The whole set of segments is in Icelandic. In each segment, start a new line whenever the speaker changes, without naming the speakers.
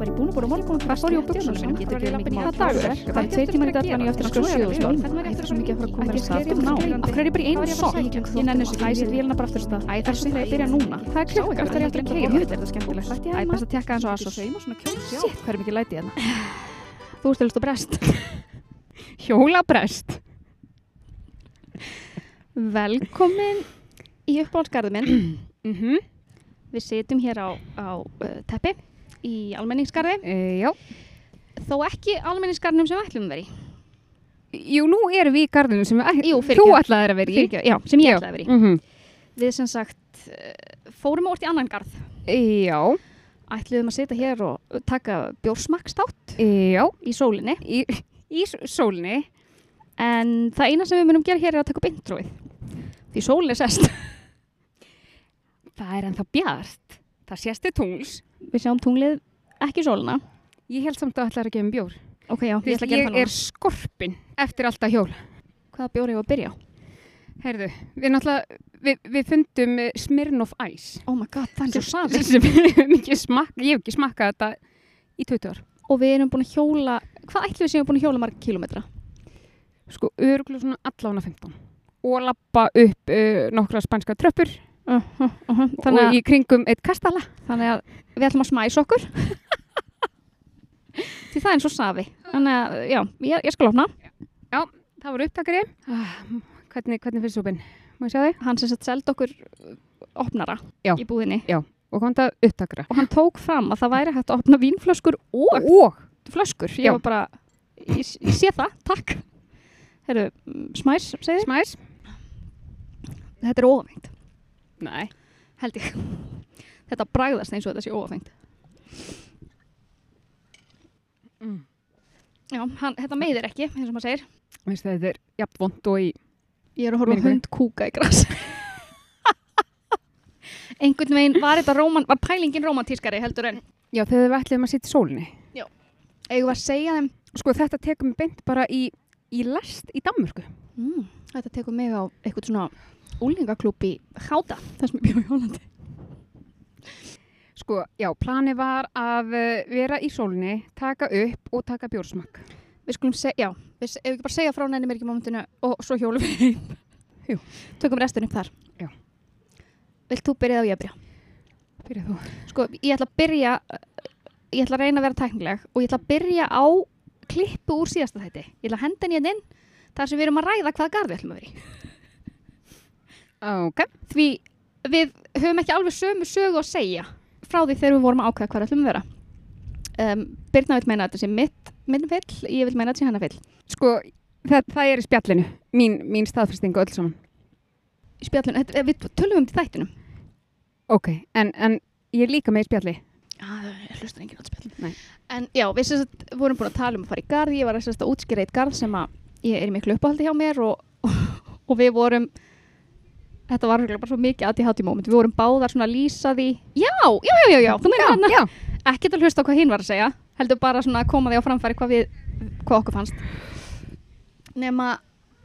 Var ég búin að bóra morgun og bara fór ég á buksuna mínu?
Getur
ekki
ekki
mikið
mikið
mál
mál.
dagur er. Það er tveir tímar í dag, þannig ég á eftir að skjóða sjöðu, sko. Æ, það er svo mikið að fara að koma þér af stað. Þú ná, af hverju er ég bara í einu sokk? Ég nenni þessu, æ, ég set vélina bara aftur af stað. Æ, það er svo mikið að byrja núna. Hvað er klukkan? Hvert er ég aftur að keyra? Jöfull, er þetta skemmtilegt. Æ, best að tekka aðeins á Asos. Shit, hvað er mikið læti hérna? Þú ert elst og brest. Hjólabrest. Velkomin í uppáhaldsgarðið minn.
Mhm.
Við sitjum hér á, á uh, teppi í almenningsgarði.
Eh, Já.
Þó ekki almenningsgarðinum sem við ætlum að vera í.
Jú, nú erum við í gardinu sem við,
Jú,
þú
fyrirgefðu.
ætlaðir að vera í.
Fyrirgefðu, já, sem ég
Já.
ætlaði að vera í.
Mhm.
Við sem sagt uh, fórum óvart í annan garð.
Eh, Já,
Ætluðum að sitja hér og taka bjórsmakkstátt
Eh, já,
í sólinni.
í, í s- sólni.
En það eina sem við munum gera hér er að taka upp introið. Því sólinn er sest.
Það er ennþá bjart. Það sést þið tungls.
við sjáum tunglið ekki sólina.
Ég held samt að það ætlar að gefa um bjór.
Ok, já, ég ætla að gera
ég
það núna.
er skorpin eftir alltaf hjól.
Hvaða bjór ég að byrja á?
Herðu, við náttúrulega, við, við fundum eh, Smirnoff Ice.
Oh my god, það er svo
Sem-
safi.
sem við höfum ekki smakka, ég hef ekki smakkað þetta í 20 ár.
Og við erum búin að hjóla, hvað ætlum við séum búin að hjóla marga kilometra?
Sko, öruglega svona allána 15. Og lappa upp uh, nokkra spænska tröppur
Uh, uh, uh, þannig,
og
að,
í kringum eitt kastala.
þannig að við ætlum að smæsa okkur. Því það er eins og safi. Þannig að, já, ég, ég skal opna.
Það voru upptakari. Ah, hvernig, hvernig finnst súpin? Má ég sjá þig?
Hann sem sett seldi okkur uh, opnara
Já.
í búðinni.
Og komum þetta upptakara.
Og hann tók fram að það væri hægt að opna vínflöskur og
og
flöskur. Ég
Já.
var bara, ég, ég sé það, takk. Herru, mm, smæs, segir
smæs
Þetta er óafengt,
Nei.
held ég. Þetta bragðast eins og þetta sé óafengt.
Mm.
Já, hann, þetta meiðir ekki, eins og maður segir.
Veistu, þetta er jafn vond og í
Ég er að horfa á
Minningu.
hund kúka í græs. Einhvern veginn var þetta róman, var pælingin romantískari heldur en.
Já, þegar við ætlum að sitja í sólinni
Eigum við að segja þeim,
Sko, þetta tekum við beint bara í, í lest í Danmörku
mm, þetta tekur mig á eitthvað svona úlingaklúb í Háta, þar sem ég bjóð í Hólandi.
Sko, já, plani var að eh, vera í sólinni, taka upp og taka bjórsmakk
Við skulum segja, já, við, se- ef við ekki bara segja frá nefnum er ekki momentinu og svo hjólum við heim.
Jú.
Tökum restin upp þar.
Já.
Vilt þú byrja þá ég að byrja?
Fyrir þú
Sko, ég ætla að byrja eh, ég ætla að reyna að vera tæknileg og ég ætla að byrja á klippu úr síðasta þætti. Ég ætla að henda henni hérna inn þar sem við erum að ræða hvaða garð við ætlum að vera í.
Ok
Því við höfum ekki alveg sömu sögu að segja frá því þegar við vorum að ákveða hvað ætlum að vera. Um, Birna vil meina að þetta sé mitt, minn fyll, ég vil meina að þetta sé hennar fyll.
Sko, það, það er í spjallinu, mín, mín staðfestingu öll saman
Í spjallinu, þetta, við tölum um til þættinum.
Ok, en, en ég er líka með í spjalli
Ah, það hlustar enginn á þetta spjall.
Nei.
En já, við sem sagt, vorum búin að tala um að fara í garð, ég var að, sem sagt, að útskýra eitt garð sem að ég er í miklu uppáhaldi hjá mér og, og, við vorum, þetta var örugglega bara svo mikið aðti hátti moment, við vorum báðar svona að lýsa því, já, já, já, já, já, þú hérna. meina hann,
já
ekkert að hlusta á hvað hinn var að segja, heldur bara svona að koma því á framfæri hvað við, hvað okkur fannst. Nema,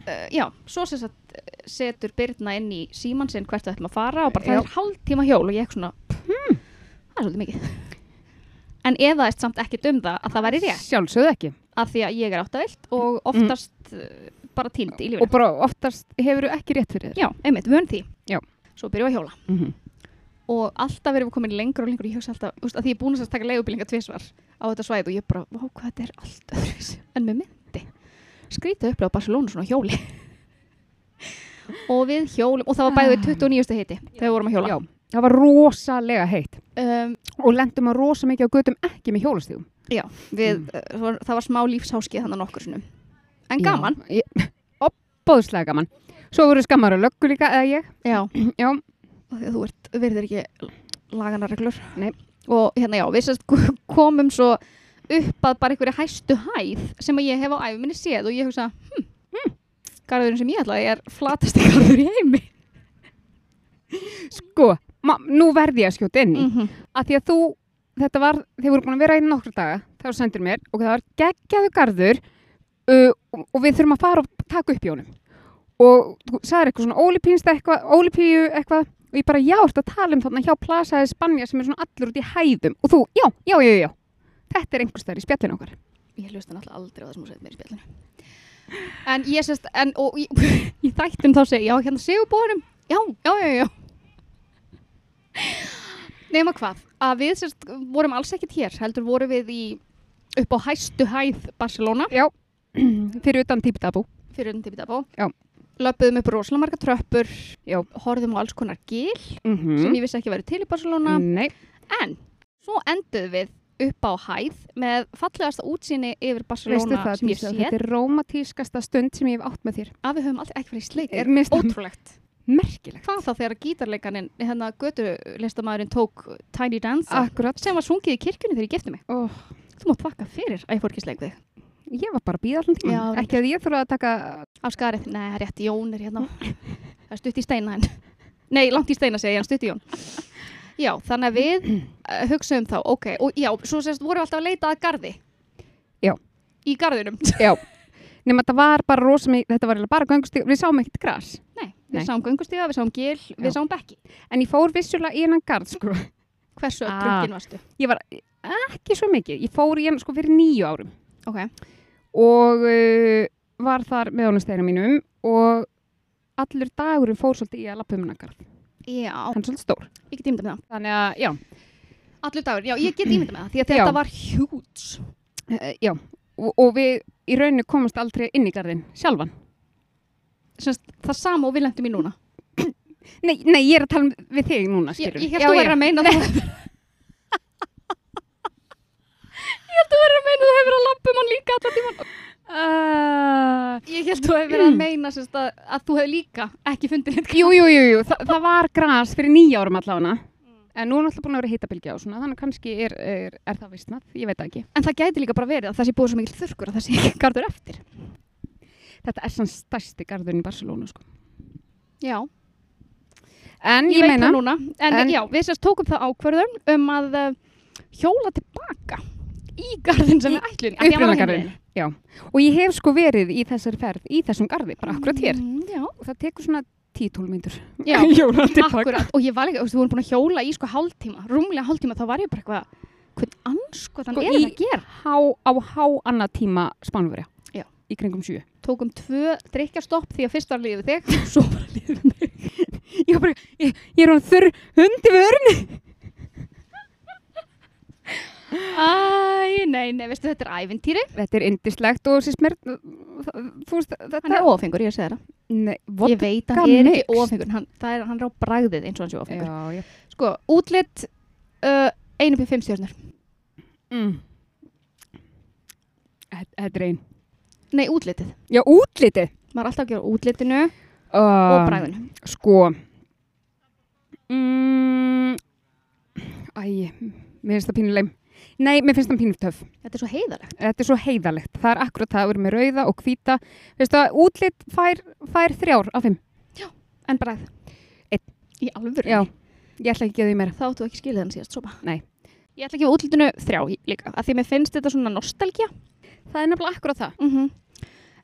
uh, já, svo sem sagt eh, setur Birna inn í síman sinn hvert við ætlum að fara og bara
Já.
það er hálftíma hjól og ég ekki svona, hmm. það er svolítið mikið. En eðaðist samt ekkert um það að það væri rétt,
Sjálfsögðu ekki
af því að ég er áttavilt og oftast mm. bara týnd í
Og
lífinu.
bara oftast hefur ekki rétt fyrir þér
Já, einmitt, vön því.
Já.
Svo byrjum við að hjóla.
mm -hmm.
og alltaf erum við komin lengur og lengur ég hugsa alltaf, þú veist, að því ég er búin að taka leigubílinga tvisvar á þetta svæð og ég bara, vá, hvað þetta er allt öðruvísi en með myndi skrítið upplega Barcelona svona á hjóli og við hjólum og það var bæðið 29. hiti þegar við vorum að hjóla
Já, það var rosalega heitt
um,
og lendum að rosa mikið á götum ekki með hjólastíðum.
við, mm. var, það var smá lífsháskið þannig nokkur sinnum en gaman,
Bóðslega gaman. Svo voru skammar og löggu líka eða ég.
já,
Já,
af því að þú ert, verður ekki lagana reglur
Nei.
og hérna já, við sérst komum svo upp að bara einhverju hæstu hæð sem að ég hef á æfuminni séð og ég hugsa hm, hm, garðurinn sem ég ætlaði er flatasti garður í heimi
sko, ma, nú verði ég að skjóta inn í. Mm.
-hmm.
Að því að þú, þetta var, þið voru búin að vera í nokkra daga, þá sendir mér og það var geggjaðu garður uh, og- og við þurfum að fara og taka upp í honum. Og þú sagðir eitthvað svona ólipínst eitthvað, ólipíu eitthvað, og ég bara já, ertu að tala um þarna hjá plasaði Spanja sem er svona allur út í hæðum og þú, já, já, já, já, þetta er einhvers þar í spjallinu okkar.
Ég hlusta náttúrulega aldrei á það sem hún segir mér í spjallinu. En ég sérst, en og í, í þættum þá segi, já, hérna segurbóðunum, já, já, já, já. Nefna hvað, að við sérst vorum alls ekkert hér, heldur vorum við í, upp á hæstu hæð Barcelona,
Já, fyrir utan típitabú.
fyrir undir Bítabó.
Já.
Löpuðum upp rosalega marga tröppur,
Já.
horfðum á alls konar gil,
Mm
sem ég vissi ekki að vera til í Barcelona,
Nei,
en svo enduðum við upp á hæð með fallegasta útsýni yfir
veistu
Barcelona
það,
sem ég
Dísa, þetta
sé,
er rómatískasta stund sem ég hef átt með þér.
að við höfum alltaf ekki verið í sleik,
Er mist
ótrúlegt.
merkilegt.
Hvað þá þegar gítarleikaninn, hérna götulistamæðurinn tók Tiny Dancer
Akkurat.
sem var sungið í kirkjunni þegar ég gifti mig.
Oh,
Þú mátt pakka fyrir að ég fór ekki í sleik við. þig.
ég var bara að býða allan tíma.
Já, reyndar.
ekki að ég þurfa að taka,
Af skarið, nei, það er rétt, Jón er hérna. Það er stutt í steina henn. Nei, langt í steina segja ég, en stutt í Jón. Já, þannig að við uh, hugsaðum þá, ok, og já, svo sérst vorum við alltaf að leita að garði.
Já.
Í garðinum.
já, nema þetta var bara rosa mikið, þetta var eiginlega bara göngustíð, við sáum ekkert gras.
Nei, við
Nei.
sáum göngustíða, við sáum gil,
Já.
við sáum bekki.
En ég fór vissulega í hennan garð, sko.
Hversu ah.
Ah.
trukkin varstu?
Ég var ekki svo mikið, ég fór í hennan sko fyrir nýju árum.
Ok,
og uh, var þar með honumsteginum mínum og allur dagurinn fór svolítið í að lappa um hennakarð.
já,
Hann er svolítið stór.
ég get ímynda með það.
Þannig að, já,
Allur dagur, já, ég get ímynda með það, því að
Já.
þetta var hjúts.
uh, já. Og, og við í rauninu komumst aldrei inn í garðin sjálfan.
Sérst, það sama og við lendum í núna.
Nei, nei, ég er að tala um við þig núna,
Ég,
skilur.
ég held að vera að meina það. ég held að vera að meina það hefur verið að lampum hann líka allan tíman.
Uh,
Ég held að hefur verið að meina sérst, að, að þú hefur líka ekki fundið neitt.
jú, jú, jú, jú. Þa, það var gras fyrir nýja árum allavega.
Mm.
En nú er náttúrulega búin að vera hittabilgja og svona, þannig kannski er, er, er það vissnað, ég veit það ekki.
En það gæti líka bara verið að það sé búið svo mikil þurrkur að það sé ekki gardur eftir.
Þetta er sann stærsti garðurinn í Barcelona, sko.
Já,
En
ég,
ég,
veit
meina,
það núna. En,
en-
já, við sérst tókum það ákverðum um að uh, hjóla tilbaka í garðin sem
Í-
við ætlum. af því að hann var á
upplifagarðin
heimleiðinni.
já, og ég hef sko verið í þessari ferð í þessum garði, bara akkurat hér
Mm, Já,
og það tekur svona 10-12 myndur
Já,
Jóra
Akkurat, og ég var líka, þú veist, við vorum búin að hjóla í sko hálftíma, rúmlega hálftíma, þá var ég bara eitthvað, hvern anskotan
Sko,
er það
í-
að gera?
há, á há annar tíma spánverja
Já.
í kringum 7
Tókum um tvö drikkjastopp því að fyrst var liðið þig, svo var liðið mig.
ég, var bara, ég, ég er hann þurr hundi vörn
Æ, nei, nei, veistu, þetta er ævintýri.
þetta er indislegt og sérst mér þú veist
Hann
þetta
er ofengur, ég sé það.
Nei, what?
Ég veit að hann
Vodka
er
mixed.
ekki ofengur, hann, það er, hann er á bragðið eins og hann sé ofengur.
já, já.
Sko, útlitt, uh, einu upp í fimm stjórnur.
Mm. Þetta þetta er ein
Nei, útlitið.
já, útliti
Maður er alltaf að gera útlitinu og
og
bragðinu.
Um, Sko mm, Æ, mér finnst það pínuleg Nei, mér finnst það pínuleg töf
Þetta er svo heiðalegt.
Þetta er svo heiðalegt, það er akkurat það að vera með rauða og hvíta Veistu það, útlit fær, fær þrjár af fimm
En bragð.
Einn.
Í alvöru.
Já, ég ætla ekki að því meira
þá áttu ekki skilið hann síðast sopa.
Nei.
Ég ætla ekki við útlutinu þrjá í- líka, af því mér finnst þetta svona nostalgja.
Það er nefnilega akkurat það
Mm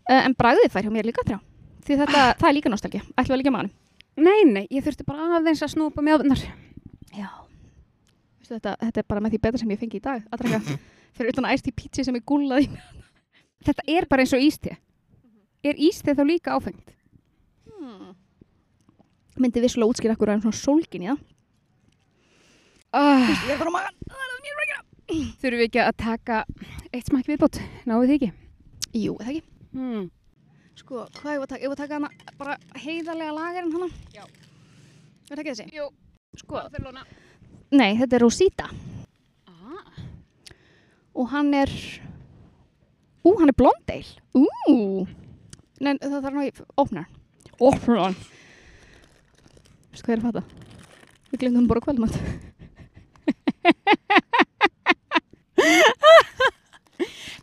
Eh, en bragðið fær hjá mér líka þrjá. Því þetta, það er líka nostalgja. Ætlum við líka maður.
Nei, nei, ég þurfti bara aðeins að snúpa með ofnar
Já. Vistu, þetta, þetta er bara með því betra sem ég fengi í dag. Að draka fyrir utan æst í pítsi sem ég gúlaði.
Þetta er bara eins og ísti Er ísti þá líka áfengt?
Hmm. Myndi vissulega útskýra okkur aðeins svona sólgin í það.
Ah,
Ég er bara maður.
þurfum við ekki að taka eitt smakk viðbót Náðu þið ekki?
Jú, eða ekki.
Hmm.
Sko, hvað ég var að taka? Ég var að taka hana bara heiðarlega lagarinn hana.
Já.
Ég var að taka þessi.
Jú,
Sko,
Barcelona
nei, þetta er Rosita.
ah.
og hann er ú, hann er blondeil ú, Nei, það þarf nú í opnar
Ofran.
veistu hvað ég er að fatta við glemdum bara kvöldmatt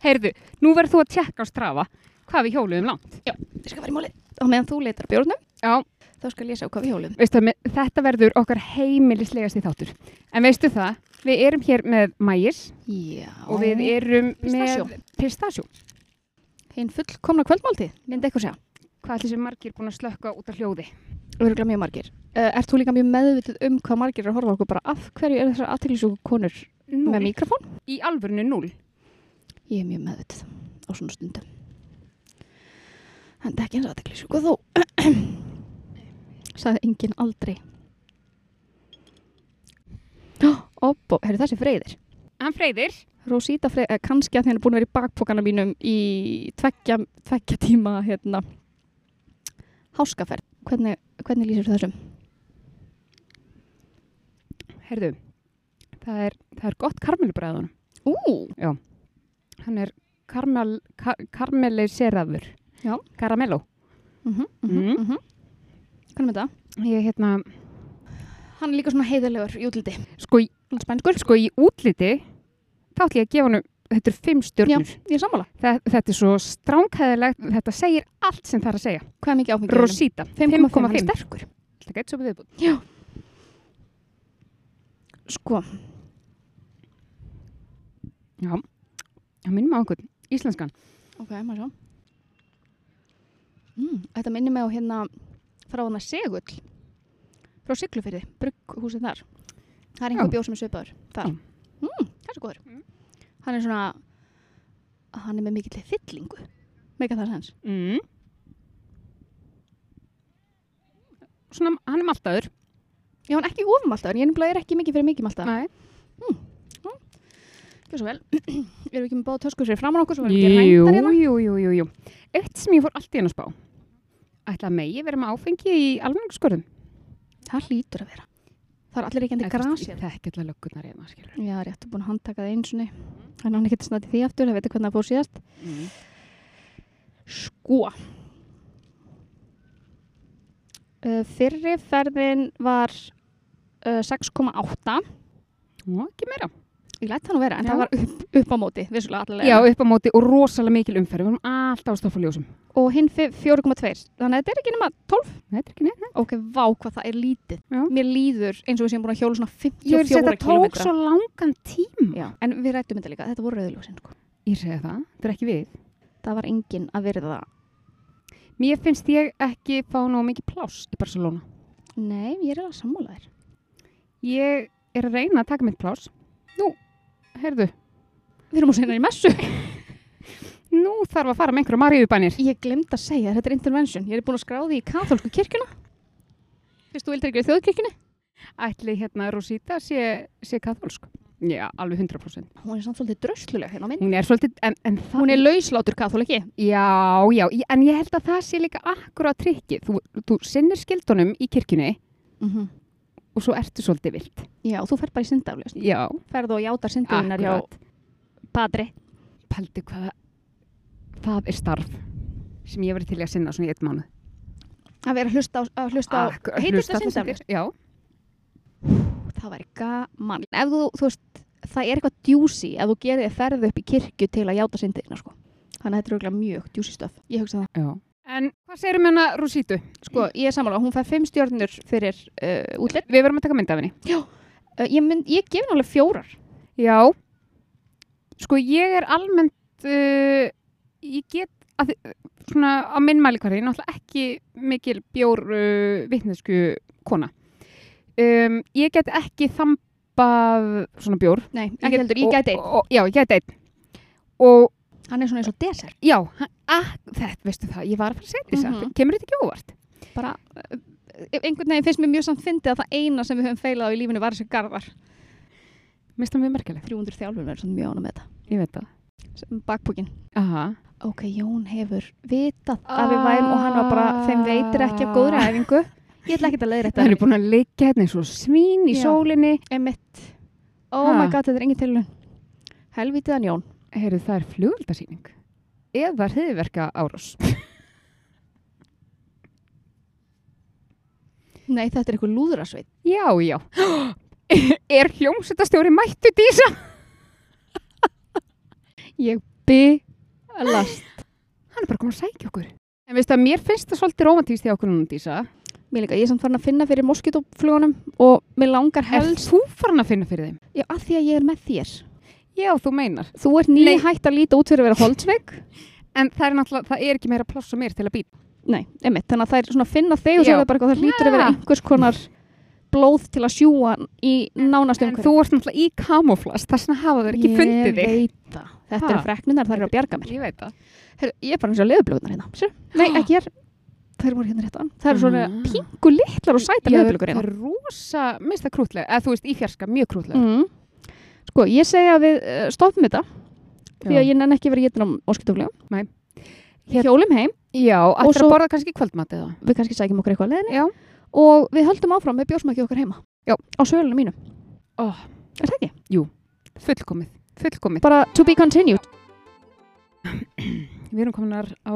Heyrðu, nú verður þú að tjekka á strafa hvað við hjóluðum langt.
ég skal vera í máli á meðan þú leitar að bjórnum
Já,
þá skal ég sjá hvað við hjólum
veistu, me- þetta verður okkar heimilislegasti þáttur. En veistu það, við erum hér með mægis
já
og við erum
Pistasjó.
með pistasjó.
hinn fullkomna kvöldmáltið myndi eitthvað segja
hvað allir sem margir búin að slökka út af hljóði.
Örgulega mjög margir. Uh, ert þú líka mjög meðvitið um hvað margir er að horfa á okkur bara af hverju er þessar aðteglisjóku konur með mikrofón?
Í alvörinu núl.
Ég er mjög meðvitið á svona stundum. Þannig ekki eins aðteglisjóku þú. Saði enginn aldrei. Oppo, herru þessi freyðir.
Hann freyðir.
Rosita Freyr, eh, kannski að því hann er búin að vera í bakpokana mínum í tveggja, tveggja tíma hérna háskaferð. Hvernig, hvernig lýsir þessum?
Herðu, það er, það er gott karmelubræðun.
Ú,
Hann er karmel, kar, karmeliseraður.
Já.
Karamelló.
mhm, mhm, mhm. Hvernig með það?
Ég hérna,
Hann er líka svona heiðarlegur í útliti.
sko, í-
Svona spænskur.
sko í útliti, þá ætlum ég að gefa hann, þetta er fimm stjörnur.
Ég er sammála.
Þa, þetta er svo stránkæðilegt, þetta segir allt sem það er að segja.
Hvað er mikið áfengi? í honum?
Rosita,
5,5. Hann er
5,5.
sterkur.
Þetta gæti svo við viðbútt.
Sko,
Já, það minnum á einhvern, íslenskan.
ok, maður sjá. Mm, þetta minnir mig á hérna frá hana Segull. Frá Siglufyrði, brugghúsið þar. Það er einhver
Já.
bjór sem er svipaður. Þar.
Já.
Mm, það er svo góður.
Mm.
Hann er svona, hann er með mikill fyllingu. Mega það hans.
Mm. Svona, hann er maltaður.
Já, hann er ekki ofum alltaf, en ég er nefnilega er ekki mikið fyrir mikið alltaf.
Nei.
Gjör svo vel. Erum við ekki með báða töskur sér framan okkur, svo verðum við ekki
Jú,
ræntar hérna.
jú, jú, jú, jú. Eitt sem ég fór allt í henn að spá. Ætla að megi vera með áfengi í almenningsskörðum.
Það hlýtur að vera. Það er allir ekki endur grasið.
Það er ekki alltaf löggurnar hérna, skilur.
Já, rétt, búin að handtaka það einsunni. Þannig að hann getur snart í því aftur, það veitir hvernig það fór síðast.
Mm.
Sko. Uh, fyrri ferðin var uh, 6,8.
Nú, ekki meira.
Ég lætt það nú vera, en
Já.
það var upp, upp á móti, vissulega
Já,
allavega.
upp á móti og rosalega mikil umferð. Við vorum alltaf að stoffa ljósum.
Og hinn fi- 4,2. Þannig að þetta er ekki nema 12.
Nei, þetta er ekki neitt. nei.
Ok, vá, hvað það er lítið.
Já.
Mér líður eins og við séum búin að hjóla svona
Ég vil segja
54
þetta tók
km.
svo langan tíma.
Já, en við rættum þetta líka, þetta voru rauðljósin, sko.
Ég segja það, þetta er ekki við.
Það var enginn að verða það.
Mér finnst ég ekki fá nóg mikið pláss í Barcelona.
Nei, ég er alveg sammála þér.
Ég er að reyna að taka mitt pláss. Nú, heyrðu,
Við erum á sinna í messu.
nú þarf að fara með einhverju maríubænir.
Ég glemt að segja, þér, þetta er intervention. Ég er búin að skráði í katholsku kirkjuna. Fyrst þú vildir ekki í þjóðkirkjunni?
Ætli hérna Rosita sé, sé katholsk. Já, alveg 100%.
Hún er samt svolítið drauslulega hérna á mynd.
Hún er svolítið, en, en það...
Hún er lauslátur katholiki.
Já, já, í- en ég held að það sé líka akkur á trikki. Þú, þú sinnir skildunum í kirkjunni
Mhm.
og svo ertu svolítið vilt.
Já, þú ferð bara í syndafljóðsni.
Já,
Ferð og játar syndafinnar hjá
akkurat.
Padri.
Paldi hvað það er starf sem ég hef verið til í að sinna svona í eitt mánuð.
Að vera að hlusta á, að hlusta á,
Akkur-
heitir
hlusta
þetta
á þessar
syndafljóðsni?
dyr- Já,
Það væri gaman. Ef þú, þú veist, það er eitthvað djúsi ef þú gerir þér ferð upp í kirkju til að játa syndirna, sko. Þannig að þetta er örugglega mjög djúsi stöf. Ég hugsa það.
já. En hvað segirum hérna Rosítu?
Sko, ég er sammála, hún fær fimm stjórnur fyrir uh, útlitt.
Við verðum að taka mynd af henni.
Uh, ég, mynd, ég gef henni alveg fjórar.
Já. Sko, ég er almennt, uh, ég get, að, þi- svona á minn mælikvarði, ég er náttúrulega ekki mikil bjór uh, vitnesku kona. Um, ég get ekki þambað svona bjór.
Nei, ekki heldur, ég
og-
gæti einn.
og- Já, ég gæti einn. Og
Hann er svona eins og desert.
já, hann- ah, þetta, veistu það, ég var að fara að segja þess að,
Mhm.
kemur þetta ekki óvart?
Bara, uh, einhvern veginn finnst mér mjög samt fyndið að það eina sem við höfum feilað á í lífinu var þessi garðar.
Mér finnst það mjög merkilegt.
300 þjálfum er svona mjög ánum með þetta.
Ég veit það.
Sem Bakpókin.
Aha.
Ok, Jón hefur vitað að við værum og hann var bara, þeim veitir ekki af góðri æfingu. Ég ætla ekki að leiða
Það
þetta.
eru búin að liggja hérna eins og svín í
Já.
sólinni.
Emitt. Oh my
Ha.
god, þetta er engin tilhörn. Helvítið hann Jón.
Heyrðu, það er flugöldasýning. Eða hriðverka árás.
Nei, þetta er eitthvað lúðrasveit.
Já, já. er hljómsveitastjóri mættu dísa?
Ég bylast.
Hann er bara komin að sækja okkur. En veistu að mér finnst það svolítið romantíst í okkur núna dísa.
Mér líka, ég er samt farin að finna fyrir moskítóflugunum og mér langar
Er
helst.
þú farin að finna fyrir þeim?
Já, að því að ég er með þér.
Já, þú meinar.
Þú ert nýja hægt að líta út fyrir að vera holdsveik.
en það er náttúrulega, það er ekki meira pláss á mér til að býta.
Nei, einmitt, þannig að það er svona að finna þig og
Já.
svo er það bara eitthvað, það hlýtur að vera
Ja.
einhvers konar blóð til að sjúa í nánast
En þú
umhverju.
ert náttúrulega í kamuflas, þess vegna hafa þau ekki fundið
Ég
þig.
veit það. Þetta
Ha.
eru freknunar, það eru að bjarga mér.
Ég veit það.
Heru, ég er bara eins og leðublökunar hérna. Sér? Nei, ekki ég er. Þær voru hérna réttan. Það eru svona
Ah.
pingu litlar og sæta
Já,
leðublökur
það
hérna.
er rosa, minnst það krútlega, eða þú veist, í fjarska, mjög krútlega.
Mm. Sko, ég segja að við uh, stoppum þetta því að
Já.
ég nenn ekki verið getin á moskitoflega.
Nei. Hér-
Hjólum heim,
Já, ætlar
svo-
að borða kannski kvöldmat eða?
við kannski sækjum okkur eitthvað að leðinni
Já.
og við höldum áfram með bjórsmæki okkar heima.
Já.
Á sölunum mínu.
Ó.
Er það ekki?
Fullkomið, fullkomið.
Bara to be continued.
Við erum kominar á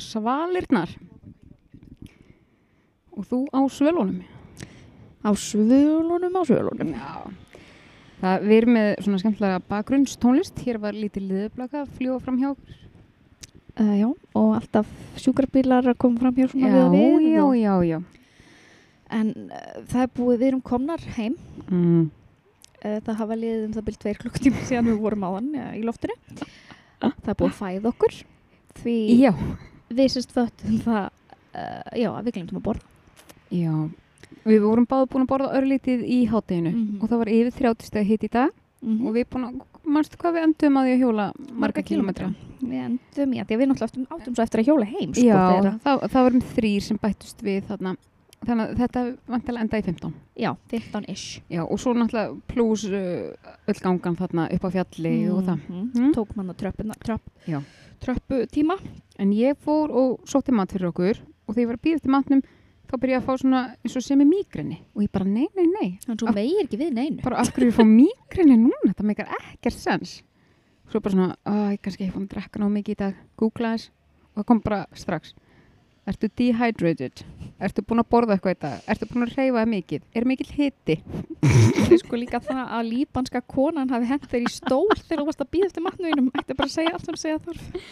svalirnar og þú á svölunum.
Á svölunum, á svölunum.
Já. Það, við erum með svona skemmtilega bakgrunnstónlist. Hér var lítið liðblaka að fljúa fram hjá.
Uh, já, og alltaf sjúkrarbílar að koma fram hér svona við að við.
já,
og-
já, já.
En uh, það er búið, við erum komnar heim.
Mm.
Uh, það hafa liðið um það byrjum tveir klukkutíma síðan við vorum á hann í loftinu. Það er búið að fæða okkur. Því
Já.
við sérst þöttum það, uh, já, að við glemtum að borða.
Já. Við vorum báði búin að borða örlítið í hátteginu
Mhm.
og það var yfir 30 steg hitt í dag
Mm
og við búin að, mannstu hvað við endum að því að hjóla marga
Marga
kilometra?
Við endum í að því að við náttúrulega áttum, áttum svo eftir að hjóla heim, sko,
Já,
þegar-
það, það varum þrýr um sem bættust við þarna. Þannig að þetta vantilega enda í 15.
já, 15-ish.
Já, og svo náttúrulega plús uh, öll gangan þarna upp á fjalli og það. Mm.
Tók mann að tröppuna, tröpp,
Já.
tröppu tíma.
En ég fór og sótti mat fyrir okkur og þegar ég var að býða eftir matnum þá byrja ég að fá svona eins og sem er mígrinni og ég bara nei, nei, nei,
En svo
Af-
meir ekki við neinu.
bara af hverju ég fá mígrinni núna, það meikar ekkert sens. Svo bara svona, að ég kannski hef fann að drekka ná mikið í dag, googla þess og það kom bara strax. Ertu dehydrated? Ertu búin að borða eitthvað í dag? Ertu búin að reyfa það mikið? Er mikill hiti?
Þau sko líka þannig að líbanska konan hafi hent þér í stól þegar þú varst að býða eftir matnöginum ætti bara að segja allt sem segja þarf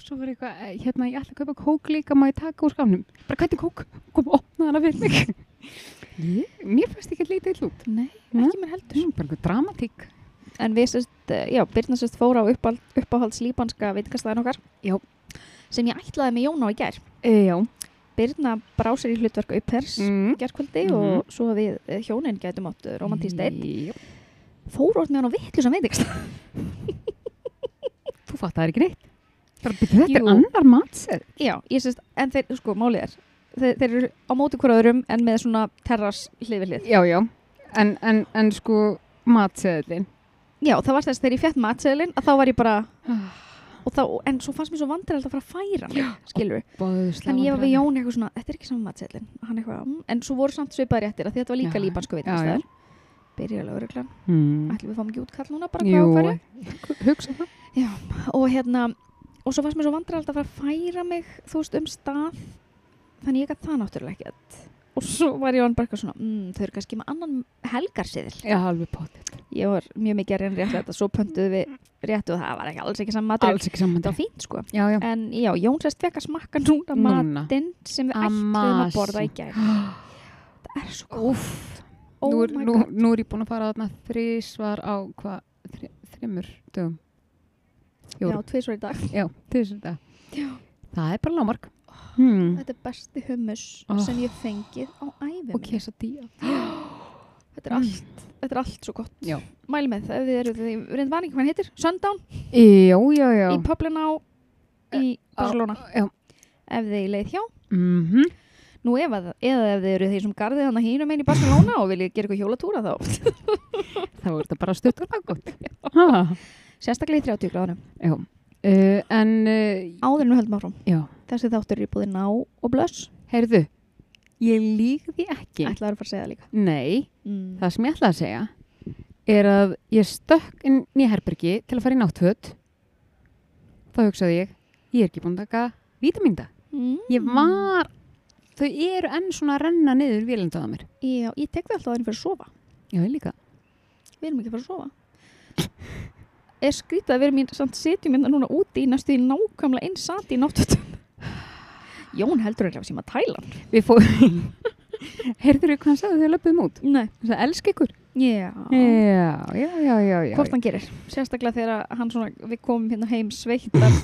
Og svo var eitthvað, eh, hérna, ég ætla að kaupa kók líka, má ég taka úr skafnum? Bara hvernig kók? Kom og opna hana fyrir mig. Ég, mér fannst ekki að leita illa út.
Nei, Mm.
Nei.
ekki mér heldur
bara einhver dramatík.
En við sérst, eh, já, Birna sérst fór á uppáhald, uppáhalds líbanska veitingastæðin okkar
Já.
sem ég ætlaði með Jón á í gær
E, já.
Birna brá sér í hlutverk upphers mm.
Mm.
gærkvöldi
Mhm.
og svo að við eh, hjónin gætum átt romantíst einn
Jú,
fór orð með hann á vitlu sem veitingastæð
Þú fattar ekki neitt. Bara, byrju, þetta
Jú.
er annar matseð.
Já, ég sérst, en þeir, sko, málið er þeir, þeir eru á móti hver öðrum en með svona terras hlið við hlið
Já, já. En, en, en sko, matseðlin.
Já, það var þess að þegar ég fjett matseðilinn að þá var ég bara og þá, en svo fannst mér svo vandræðilegt að fara að færa mig, skilur við.
Bóðuslega.
Þannig ég var við Jón eitthvað svona, þetta er ekki saman matseðilinn, hann eitthvað, mm, en svo voru samt svipaði réttir að því þetta var líka
Já,
líbansku
já,
veitingastæður. Byrjar alveg öruglan,
Mm.
ætlum við fáum ekki útkall núna bara hvað á
Jú,
að fara.
hugsa það.
Og hérna, og svo fannst mér svo vandræðilegt að fara að færa mig, þú veist, um stað, þannig ég gæti það náttúrulega ekki Og svo var Jón bara eitthvað svona, mm, þau eru kannski með annan helgarsiðil.
Já, alveg potið.
Ég var mjög mikið að reyna rétt þetta, svo pöntuðu við réttu og það var ekki alls ekki saman matur.
ekki saman
Þetta var fínt sko.
Já, já.
En já, Jón sérst fekk að smakka núna
Núna.
matinn sem við ætluðum að
Amazing.
borða í gær. Það er svo góð.
Úff.
Oh
nú, er,
my
nú,
god.
nú er ég búin að fara þarna þrísvar á hvað, þri, þrimur dögum.
Já,
Fjórum.
tvisvar í dag.
Já, þessum dag. Það er bara lámark. Hmm.
Ah, Þetta er besti hummus
Oh.
sem ég hef fengið á æfum.
Og kesa dýja.
Þetta er allt, þetta er allt svo gott.
Mm. Já.
Mæli með það, ef þið eru því, reynd van ekki hvað hann heitir, Sundown
Já, já, já. E,
í Pöblená í Barcelona.
Já.
Ef þið er leið hjá.
Mm
Nú ef að, eða ef þið eru því sem garðið hann að hínum einn í Barcelona og viljið gera eitthvað hjólatúra þá.
Þá er þetta bara stutt og laggótt. Ha,
Sérstaklega í 30 gráðunum.
já. Uh, en, uh,
Áður en við höldum áfram.
já.
Þessi þáttur er í búið ná og blöss.
Heyrðu, ég lík því ekki.
Ætlaður að fara að segja það líka.
Nei,
Mm.
það sem ég ætla að segja er að ég stökk inn í herbergi til að fara í náttföt. Þá hugsaði ég, ég er ekki búin að taka vítamínda.
Mm.
Ég var, þau eru enn svona að renna niður vélindu að mér.
Já, ég tek það alltaf þannig fyrir að sofa.
Já, ég líka.
Við erum ekki fyrir að sofa. Er skrítið að við erum í samt setjum hérna núna úti í næstu í nákvæmlega eins sati í náttutum. Jón heldur ekki að síma Tæland.
Við fóðum, heyrður hvað hann sagði þegar löpum út?
Nei.
Hann sagði, elsk ykkur.
Já.
Já, já, já, já, já.
Hvort hann gerir. Sérstaklega þegar hann svona, við komum hérna heim sveittar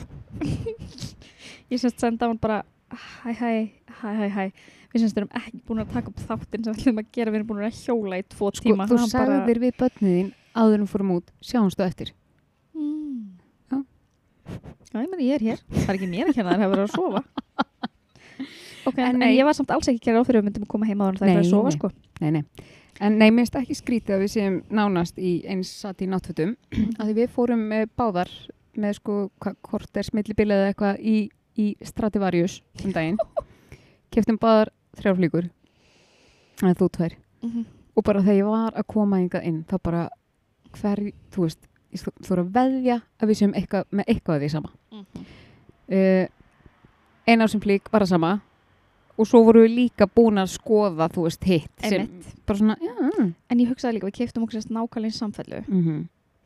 ég semst senda á hann bara hæ hæ, hæ hæ hæ við semst erum ekki búin að taka upp þáttinn sem við ætlum að gera, við erum búin að hjóla í tvo
Sko,
tíma
þú
Hann bara-
sagðir við börnið þín áður en við fórum út, sjáumstu á eftir.
Mm.
Já.
Já, ég meni, ég er hér. Það er ekki mér að kenna þær, það er verið að sofa. Ok, en,
En
en
nei.
ég var samt alls ekki að gera áfyrir að við myndum að koma heima á hann það er
Nei,
að sofa,
nei.
sko.
Nei, nei. En nei, mér finnst ekki skrítið að við séum nánast í eins satt í náttfötum. að því við fórum með báðar með sko hvað hvort er smillibilið eða eitthvað í, í Strativarius um daginn. Keftum báðar þrjár flíkur. Það er þú tvær. Og bara þegar ég var að koma hingað inn, þá bara hver, þú veist, ég þú, þú er að veðja að við séum eitthvað, með eitthvað að því sama.
Mhm.
uh, eina sem flík var að sama og svo voru við líka búin að skoða þú veist hitt sem
Einmitt.
bara svona já, mm
En ég hugsaði líka, við keiftum okkur sérst nákvæmlega eins samfellu.
-hmm.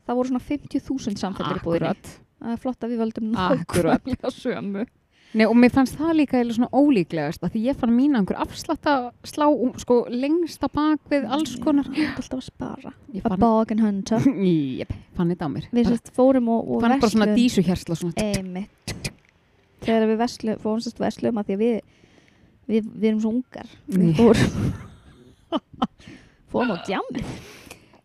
Það voru svona 50.000 samfellir í búðinni.
akkurat
Það er flott að við völdum
Akkurat.
nákvæmlega sömu.
Nei, og mér fannst það líka eða svona ólíklegast að því ég fann mína einhver afslatta slá um, sko, lengst að bak við alls konar
Ég er alltaf að spara.
ég
A
fann,
bog and hunter.
Jep, fann þetta á mér
Við sérst fórum og, og
fann bara svona
versluðum-
dísuhjersla svona
Eh. Einmitt. Þegar við verslu, fórum sérst versluðum að því að við, við, við erum svo ungar. Við
Nei,
fórum fórum á djammi.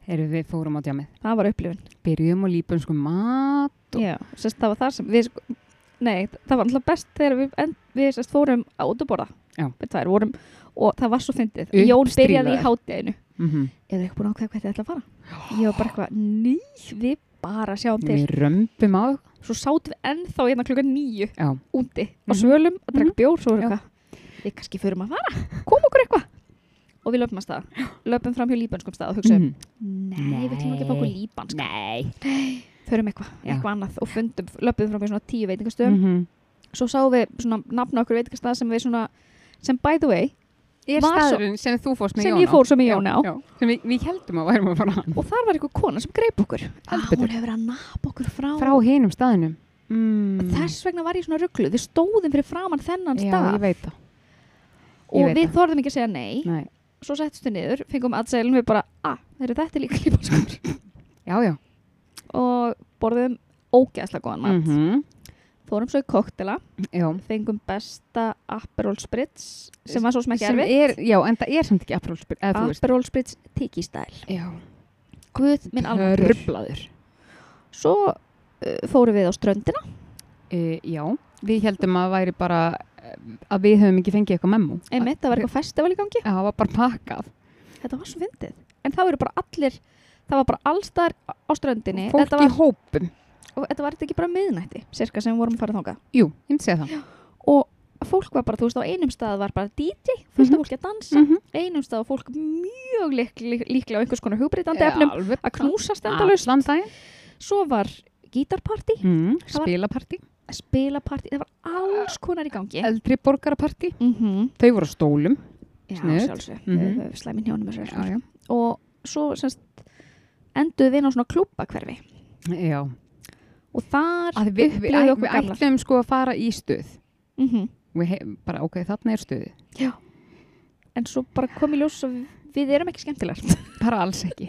heyrðu, við fórum á djamið
Það var upplifun.
byrjum og lípum sko mat Dó-
Já, sérst, það var það sem við, sko- nei, það var alltaf best þegar við, en, við sérst, fórum á út að borða.
Já.
Við tvær vorum, og það var svo fyndið. Jón byrjaði í
Uppstríðaðir.
hátteginu.
mm -hmm.
Ég var ekki búin að ákveða hvert ég ætla að fara. Ég var bara eitthvað, ný, við bara sjáum til.
við römbum á
Svo sátum við ennþá hérna klukkan nýju
já,
úti á
Mhm.
svölum að drakka bjór, svo
Já.
voru eitthvað. Við kannski förum að fara, kom okkur eitthvað. Og við löpum að staða. Löpum fram hjá líbanskum stað og hugsaum,
Mhm.
nei, við ætlum ekki að fá okkur líbansk.
nei
Förum eitthvað,
Já.
eitthvað annað og fundum, löpum fram hjá svona tíu veitingastöðum.
mm -hmm.
svo sáum við svona nafna okkur veitingastað sem við svona sem by the way
er
Var svo-
staðurinn sem þú fórst með
sem
Jón
ég fór svo með Jón á
Já, já. sem við, við heldum að værum að fara hann.
og þar var einhver kona sem greip okkur ah,
betur.
hún hefur verið að napa okkur frá,
frá hinum staðinum mm.
þess vegna var ég svona rugglu við stóðum fyrir framann þennan
já, ég
stað
veit það
og
veit
við
það.
þorðum ekki að segja nei,
Nei.
svo settstu niður, fengum aðseilin við bara, ah, eru þetta er líka lífbólskur
já, já
og borðum ógeðslega góðan mat
-hmm.
fórum svo í koktela,
já.
fengum besta Aperol Spritz sem var svo sem Ah. ekki
Sem er,
erfitt
já, en það er samt ekki aprilspil eða þú veist
Aperol Spritz Tiki Style
já.
Guð minn alveg
rublaður
svo uh, fórum við á ströndina
e, já, við heldum að væri bara eh, að við höfum ekki fengið eitthvað memmo
einmitt, það var eitthvað festival í gangi
Já, það var bara pakkað
þetta var svo fyndið, en það eru bara allir það var bara allstar á ströndinni
fólk
þetta var,
í hópum
og þetta var þetta ekki bara miðnætti cirka sem við vorum að fara þangað
jú, ég myndi segja það
og fólk var bara, þú veist, á einum stað var bara DJ, fullt af fólki að dansa
Mhm.
einum stað var fólk mjög lík, lík, líklega á einhvers konar hugbreytandi
Já,
efnum
alveg
að knúsa stendalaust
allan daginn
svo var gítarparti,
mm,
Það var-
spilapartí,
spilaparti það var alls konar í gangi
eldri borgarapartí
mm
þau voru á stólum
já,
Sniðugt.
sjálfsög, mm
Mhm.
-hmm. slæmin hjánum þessu
já, já.
og svo semst, enduðum við inn á svona klúbbakverfi
Já.
og þar
Að við, við,
upplifðu
æ-
okkur
við
gamlar
ætlum sko að fara í stuð
mm
við hef, bara ok, þarna er stuði
en svo bara kom í ljós og við erum ekki skemmtilegar
bara alls ekki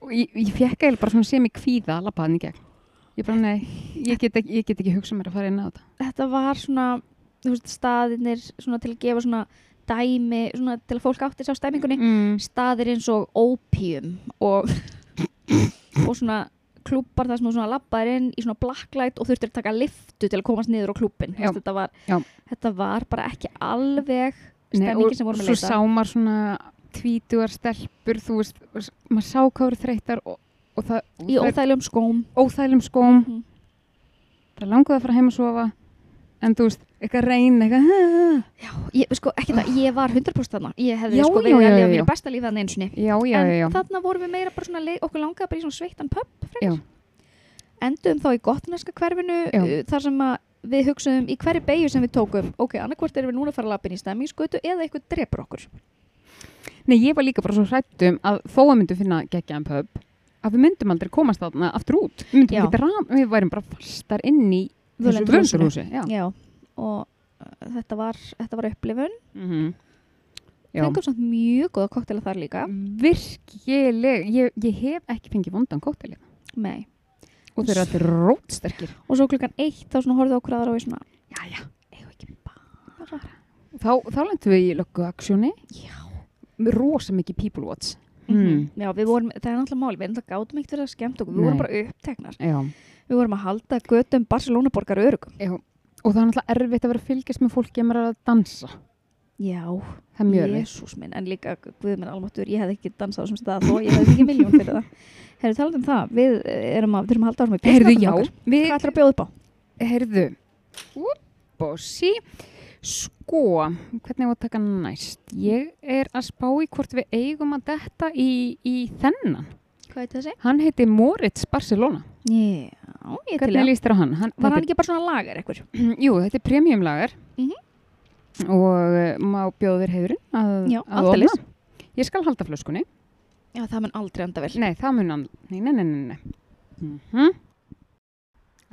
og ég, ég fekk eiginlega bara svona sem í kvíða að labba hann í gegn ég bara nei, ég get ekki, ég get ekki hugsað mér að fara inn á þetta
þetta var svona þú veist, staðinir svona til að gefa svona dæmi svona til að fólk átti sér á stæmingunni
mm.
staðir eins og opium og, og svona klúpar þar sem þú svona labbaðir inn í svona blacklight og þurftir að taka liftu til að komast niður á klúppin
Já.
þetta, var-
Já.
þetta var bara ekki alveg
Nei,
stemningin sem vorum að
svo
leita.
sá maður svona tvítugar stelpur þú veist, og s- maður sá hvað voru þreyttar og, og það, og
í
þær-
óþægilegum skóm
óþælum skóm
Mhm.
það langaði að fara heim að sofa en þú veist, eitthvað reyn eitthvað
ég, sko, ekki það, ég var 100% þarna ég hefði
Já,
sko
já,
verið
já,
að lifa
já,
mínu
já.
besta líf þarna einu sinni
já, já,
en
já, já.
þarna vorum við meira bara svona leið, okkur langaði bara í svona sveittan pöpp
Já.
frekar. endum þá í gotneska hverfinu
Já.
uh, þar sem að við hugsuðum í hverju beigju sem við tókum ok, annarkvort erum við núna að fara lappin í stemmingsgötu eða eitthvað drepur okkur
Nei, ég var líka bara svo hrættum að þó að myndum finna geggjaðan pub að við myndum aldrei komast þarna aftur út við myndum
Já.
ekki ram, við værum bara fastar inn í þessu
Völundarhúsinu.
völundarhúsi já.
já, og uh, þetta var, þetta var upplifun
Mm -hmm.
fengum samt mjög góða koktela þar líka
Mm. virkileg ég, ég hef ekki fengið vondan kóttel
Nei.
hérna. og þeir eru allir rótsterkir.
og svo klukkan eitt þá svona horfðu á hverðar og ég svona
Jæja.
eigum við ekki bara
Þá, þá lendum við í lögguaksjóni. Já. Rosa mikið people watch. Mm.
Mhm. já við vorum, það er náttúrulega máli við náttúrulega gátum ekkert verið að skemmt okkur við
Nei.
vorum bara uppteknar
Já.
við vorum að halda götum Barcelona borgar örugum
Og það er náttúrulega erfitt að vera að fylgjast með fólki að maður er að dansa.
já
Það er mjög erfitt.
Jésús minn, en líka Guð minn almáttur, ég hefði ekki dansað á þessum stað þó ég hefði ekki miljón fyrir það Herðu talað um það, við eh, erum að, þurfum að halda áfram í
Heyrðu,
bjóðskapnum
já.
okkar.
Við,
Hvað ætlar að bjóða upp á?
heyrðu. Úbossi. Sko, hvernig á að taka næst? Ég er að spá í hvort við eigum að detta í, í þennan.
Hvað er þessi?
Hann heiti Moritz Barcelona.
Já, ég til
Hvernig
ég
líst þér á hann? hann
Var
þetta-
hann ekki bara svona lagar eitthvað?
Jú, þetta er premiumlagar
Mhm.
og uh, má bjóða þér heiðurinn að,
Já,
að
aldeilis.
opna. Ég skal halda flöskunni.
Já, það mun aldrei enda vel
Nei, það mun hann. Nei, nei, nei, nei. nei. Mm -hmm.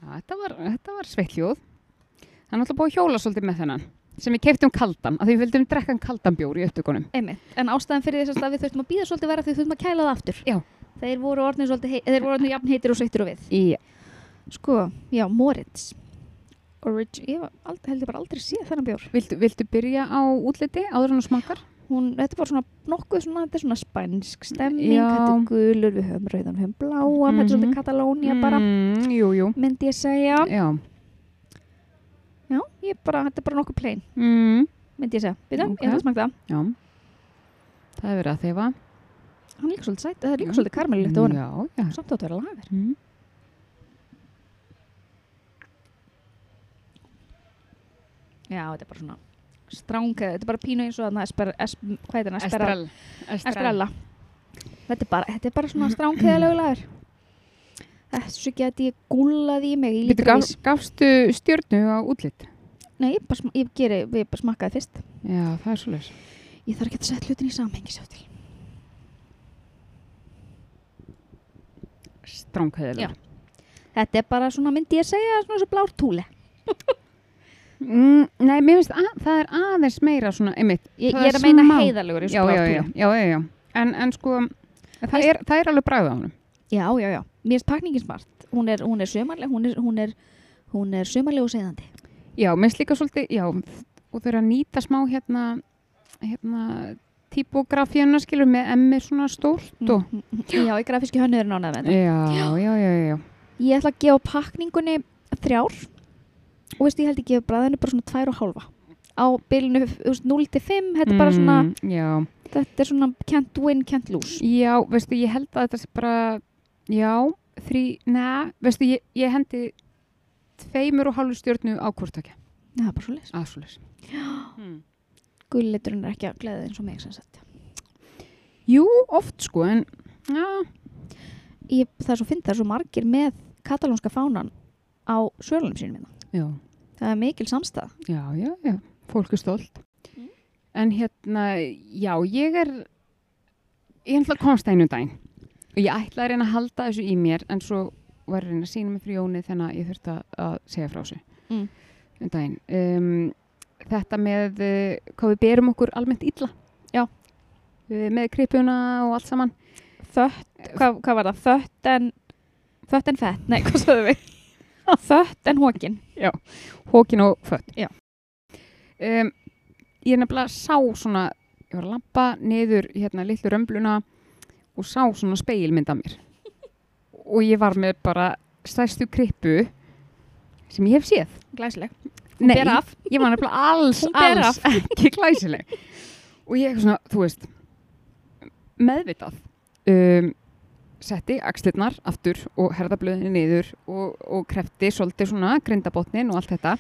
þetta, var, þetta var sveittljóð. Hann ætla búið að hjóla svolítið með þennan sem við keftum kaldan, af því við vildum drekka hann kaldan bjór í upptökunum.
Einmitt. En ástæðan fyrir þess að við þurftum að býða svolítið vera því við þurftum að kæla það aftur
Já.
Þeir voru orðnir svolítið, hei- þeir voru orðnir jafn heitir og sveittir og við
Í,
Sko, já, Moritz Orig Ég hef aldrei, held ég bara aldrei séð þennan bjór
viltu, viltu byrja á útliti áður en þú smakkar?
hún, þetta er bara svona nokkuð svona, þetta er svona spænsk stemning,
Já.
þetta er gulur, við höfum rauðan, við höfum bláan, þetta er
Mhm.
svolítið Katalónia bara,
Mm, jú, jú.
myndi ég segja.
Já.
Já, ég bara, þetta er bara nokkuð plain,
Mm,
myndi ég segja. Við það,
Ok.
ég ætla að smaka það.
já. Það er verið að þefa.
Hann er líka svolítið sætt, það er líka
Já.
svolítið karmelilegt á honum.
Já, já.
Samt átt að vera lagar.
Mm.
Já, þetta er bara svona strángað, þetta er bara pínu eins og þarna, esper, es, hvað heitir hann, Esperal-
Estrella.
Estrella. Þetta er bara, þetta er bara svona strángkeðalegu lagar. Þessu geti ég gúlað í mig í
Býtu,
lítra
gaf,
vís.
gafstu stjörnu á útlitt?
Nei, ég bara, sma- ég geri, ég bara smakkaði fyrst.
Já, það er svolítið.
Ég þarf ekki að setja hlutin í samhengi sjá til.
Stránkæðilega.
Þetta er bara svona, myndi ég segja, svona svo blár túle.
Mm, nei, mér finnst að það er aðeins meira svona, einmitt.
Ég,
það
ég er að meina
smá-
heiðalegur í
Já,
svona
já,
blár
já,
túle.
já, já, já. En, en sko, það
Veist-
er, það er alveg bræða á hennum.
Já, já, já. Mér finnst pakningin smart. Hún er, hún er sömarleg, hún er, hún er, hún er sömarleg og segðandi.
Já, mér finnst líka svolítið, já, og þau eru að nýta smá hérna, hérna, typografíuna skilur með emmi svona stórt og...
Já, ég grafíski hönnurinn ánað með þetta.
Mhm. Já, já, já, já, já.
Ég ætla að gefa pakningunni þrjár og veistu, ég held ég gefa bræðinu bara svona tvær og hálfa. Á bylunu 0 til 5, þetta er bara svona,
Mm, já.
þetta er svona can't win, can't lose.
Já, veistu, ég held að þetta sé bara, já, þrý, neða, veistu, ég, ég hendi tveimur og hálfu stjórnu á hvortakja.
Það er bara svo leys.
Aðsvolis. Hmm.
Gulliturinn er ekki að gleða eins og mig sem sagt.
Jú, oft sko, en, já,
ég, það er svo fyndið, það er svo margir með katalónska fánan á svölunum sínum minna.
já,
Það er mikil samstæða.
já, já, já, fólk er stolt.
Mm.
En hérna, já, ég er, ég ætla að komst einu daginn og ég ætla að reyna að halda þessu í mér en svo var að reyna að sína mig fyrir Jóni þannig að ég þurfti að- að segja frá þessu.
Mm.
um daginn um, þetta með uh, hvað við berum okkur almennt illa
Já.
Eh, með kripjuna og allt saman
Þött, hvað, hvað var það? Þött en þött en fett, nei, hvað sagðum við? þött en hókin.
hókin og fött
Já.
um, ég nefnilega sá svona ég var að lampa niður hérna litlu römbluna og sá svona speilmynd af mér og ég var með bara stærstu krippu sem ég hef séð
Glæsileg.
Nei,
ber af.
ég var nefnilega alls,
Hún ber
alls ekki glæsileg og ég eitthvað svona, þú veist meðvitað um, setti axlirnar aftur og herðablöðinni niður og, og krefti svolítið svona grindabotnin og allt þetta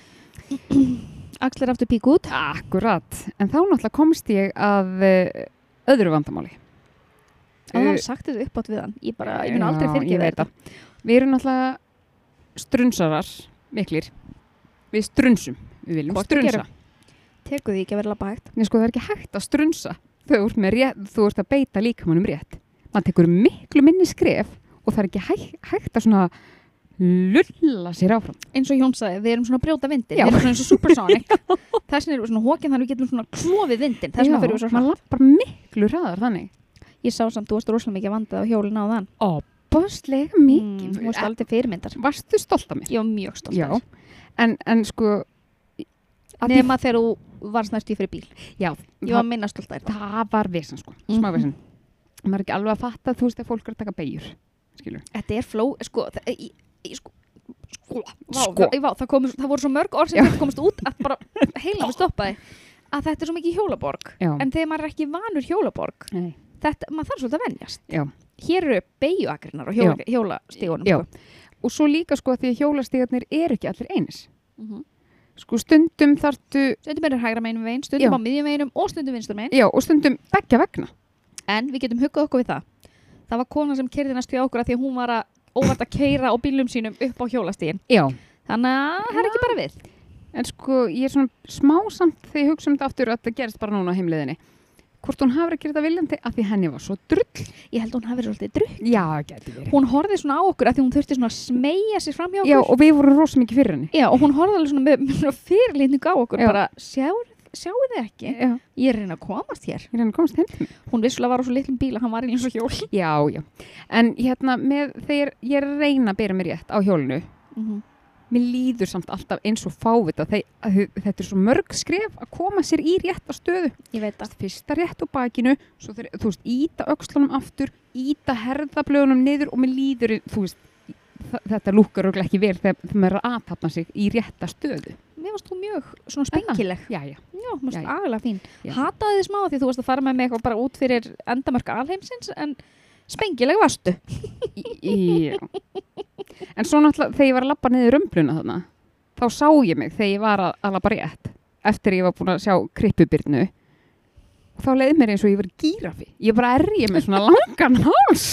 Axlir aftur pík út.
akkurat, en þá náttúrulega komst ég að eh, öðru vandamáli Eh,
Og það var sagt þetta uppátt við hann. Ég bara, ég mun
Já,
aldrei
ég
fyrirgefa
veit
þetta.
það. Við erum náttúrulega strunsarar miklir. Við strunsum. Við viljum
Hvort við
strunsa.
gerum. Tekur því ekki að vera labba hægt.
Nei, sko, það er ekki hægt að strunsa. Þú ert, með rétt, þú ert að beita líkamannum rétt. Maður tekur miklu minni skref og það er ekki hæg, hægt að svona lulla sér áfram.
Eins og Jón sagði, við erum svona að brjóta vindin.
Já.
Við erum svona eins og supersonic. Þess vegna erum við svona hókin þannig við getum svona klofið vindin. Þess vegna fyrir við svo
maður
svona.
lappar miklu hraðar þannig.
Ég sá samt, þú varst rosalega mikið vandað á hjólinu á þann.
óbáslega mikið.
Þú varst
Mm,
aldrei fyrirmyndar.
Varstu stolt af mér?
Ég var mjög stolt.
Já, en, en sko að því-
Nefna þegar þú varst næst í fyrir bíl.
já,
Ég var minna stolt af þetta.
það var vesen sko, smá
Mhm.
vesen maður er ekki alveg að fatta þú veist að fólk er að taka beigjur skilur,
Þetta er fló, sko, það, í, í, sko, sko, vá,
Sko.
Vá, það, kom, það voru svo mörg orð sem þetta komast út að bara heila með stoppaði að þetta er svo mikið hjólaborg.
já,
En þegar maður er ekki vanur hjólaborg,
Nei.
þetta, maður þarf svolítið að venjast.
Já.
Hér eru beigjuakrinnar og hjóla, hjólastígunum.
Já.
Sko.
og svo líka sko að því að hjólastígarnir eru ekki allir einis
Mm
sko stundum þartu
Stundum er hægra meinum veginn,
Já.
stundum á miðjum veginum og stundum vinstur megin.
já, og stundum begja vegna
En við getum huggað okkur við það. Það var kona sem kerði næstu hjá okkur að því að hún var að óvart að keira á bílum sínum upp á hjólastígin.
já.
Þannig að það er ekki bara við.
en sko ég er svona smá samt þegar ég hugsa um þetta aftur að þetta gerist bara núna á heimleiðinni hvort hún hafði að gera þetta viljandi að því henni var svo drull
Ég held að hún hafi verið svolítið drukk.
já, það gæti verið
Hún horfið svona á okkur að því hún þurfti svona að smeyja sér fram hjá okkur.
já, og við vorum rosa mikið fyrir henni
Já, og hún horfið alveg svona með, með fyrirlýningu á okkur.
Já.
Bara, sjáu, sjáu þið ekki?
já,
Ég er að reyna að komast hér.
ég reyna að komast heim til mín.
Hún vissulega var á svo litlum bíl að hann var inn í svo hjól.
Já, já. En hérna, með, þegar ég er að reyna að byrja mér rétt á hjólinu,
Mhm,
mér líður samt alltaf eins og fávita. Þeg, að, þau- þetta er svo mörg skref að koma sér í rétta stöðu.
Ég veit það.
Fyrsta rétt á bakinu, svo þeir, þú veist, íta öxlunum aftur, íta herðablögunum niður og mér líður, þú veist, þa- þetta lúkkar auðvitað ekki vel þegar þegar maður er að aðtapna sig í rétta stöðu.
Mér varst þú mjög svona spengileg.
Já, já.
Já, mér varst
Já, já.
agalega fín.
Já.
Hataði þið smá af því þú varst að fara með mig eitthvað bara út fyrir endamörk alheimsins en spengileg varstu.
já. En svo náttúrulega, þegar ég var að labba niður römbluna þarna, þá sá ég mig þegar ég var að, að labba rétt, eftir ég var búin að sjá krippubirnu, þá leiði mér eins og ég var gírafi. Ég bara er ég með svona langan háls.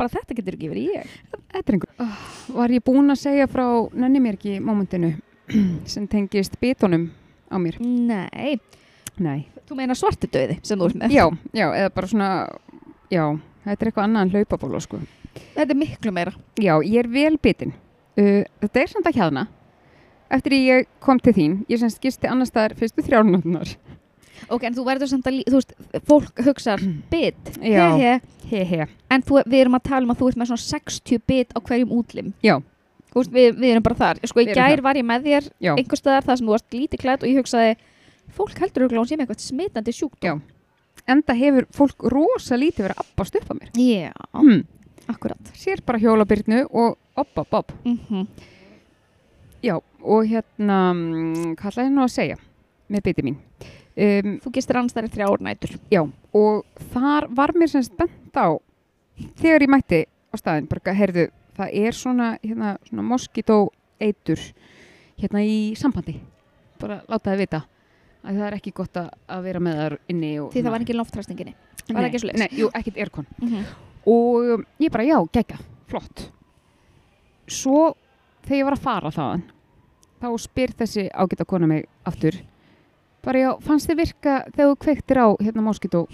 Bara þetta getur ekki verið ég.
Þetta er einhver. Oh, var ég búin að segja frá nenni mér ekki mómentinu sem tengist bitunum á mér?
Nei,
Nei.
þú meina svartu döði sem þú ert með.
Já, já, eða bara svona, já, þetta er eitthvað annað en hlaupabóla, sko.
Þetta er miklu meira.
Já, ég er vel bitin. Uh, þetta er samt að hjaðna. Eftir að ég kom til þín, ég semst gisti annar staðar fyrstu þrjárnóttunar.
Ok, en þú verður samt að, lí- þú veist, fólk hugsar bit.
Já.
He, he.
He he.
En þú, við erum að tala um að þú ert með svona 60 bit á hverjum útlim.
Já.
Þú veist, við, við erum bara þar. Sko, í
Við erum
gær var ég með þér
Já,
einhvers staðar þar sem þú varst lítið klætt og ég hugsaði, fólk heldur auðvitað hún sé með eitthvað smitandi sjúkdóm.
enda hefur fólk rosa lítið verið að abbast upp á mér.
Já,
Mm.
akkurat.
Sér bara hjólabirnu og opp, opp, opp.
Mm
Já, og hérna, mm, hvað ætlaði ég nú að segja með biti mín? Um,
Þú gistir annars þar í þrjár nætur.
já, og þar var mér semst bent á, þegar ég mætti á staðin, bara, heyrðu, það er svona, hérna, svona moskító eitur hérna í sambandi. Bara láta það vita að það er ekki gott að, að vera með þar inni. Og,
Því það var ekki loftræstinginni. var
Nei,
ekki svoleiðis.
Nei, jú, ekkert erkon.
Mm -hmm.
og um, ég bara já, gegga, flott svo þegar ég var að fara þaðan þá spyr þessi ágæta kona mig aftur bara já, fannst þið virka þegar þú kveiktir á hérna moskító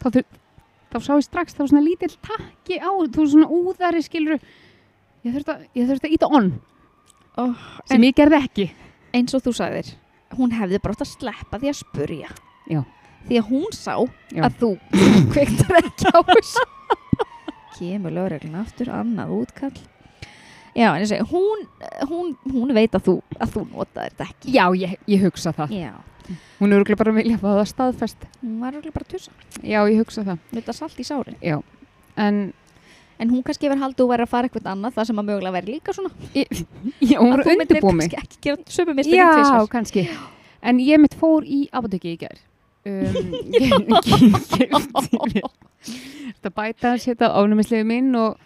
þá, þur- þá sá ég strax þá var svona lítill takki á þú veist, svona úðari skilur ég þurfti að, ég þurfti að íta onn
Oh,
sem ég gerði ekki
eins og þú sagðir, hún hefði bara átt að sleppa því að spurja.
Já.
Því að hún sá
Já.
að þú kveiktar ekki á þessu. Kemur lögreglun aftur, annað útkall. Já, en ég segi, hún, hún, hún veit að þú, að þú notaðir þetta ekki.
já, ég, ég hugsa það
Já.
hún er örugglega bara að vilja að fá það staðfest
Hún var alveg bara tussa.
já, ég hugsa það
Nuta salt í sárin.
já. en
En hún kannski verið haldið að vera að fara eitthvað annað, það sem að mögulega veri líka svona.
já,
Að
hún var
þú myndir
undirbúmi
kannski ekki gera sömu mistökin
Já,
tvisvar.
kannski. En ég mitt fór í apotekki í gær. Um, ég kefti mér. Þetta bæta hans hérna ánumislegu minn og,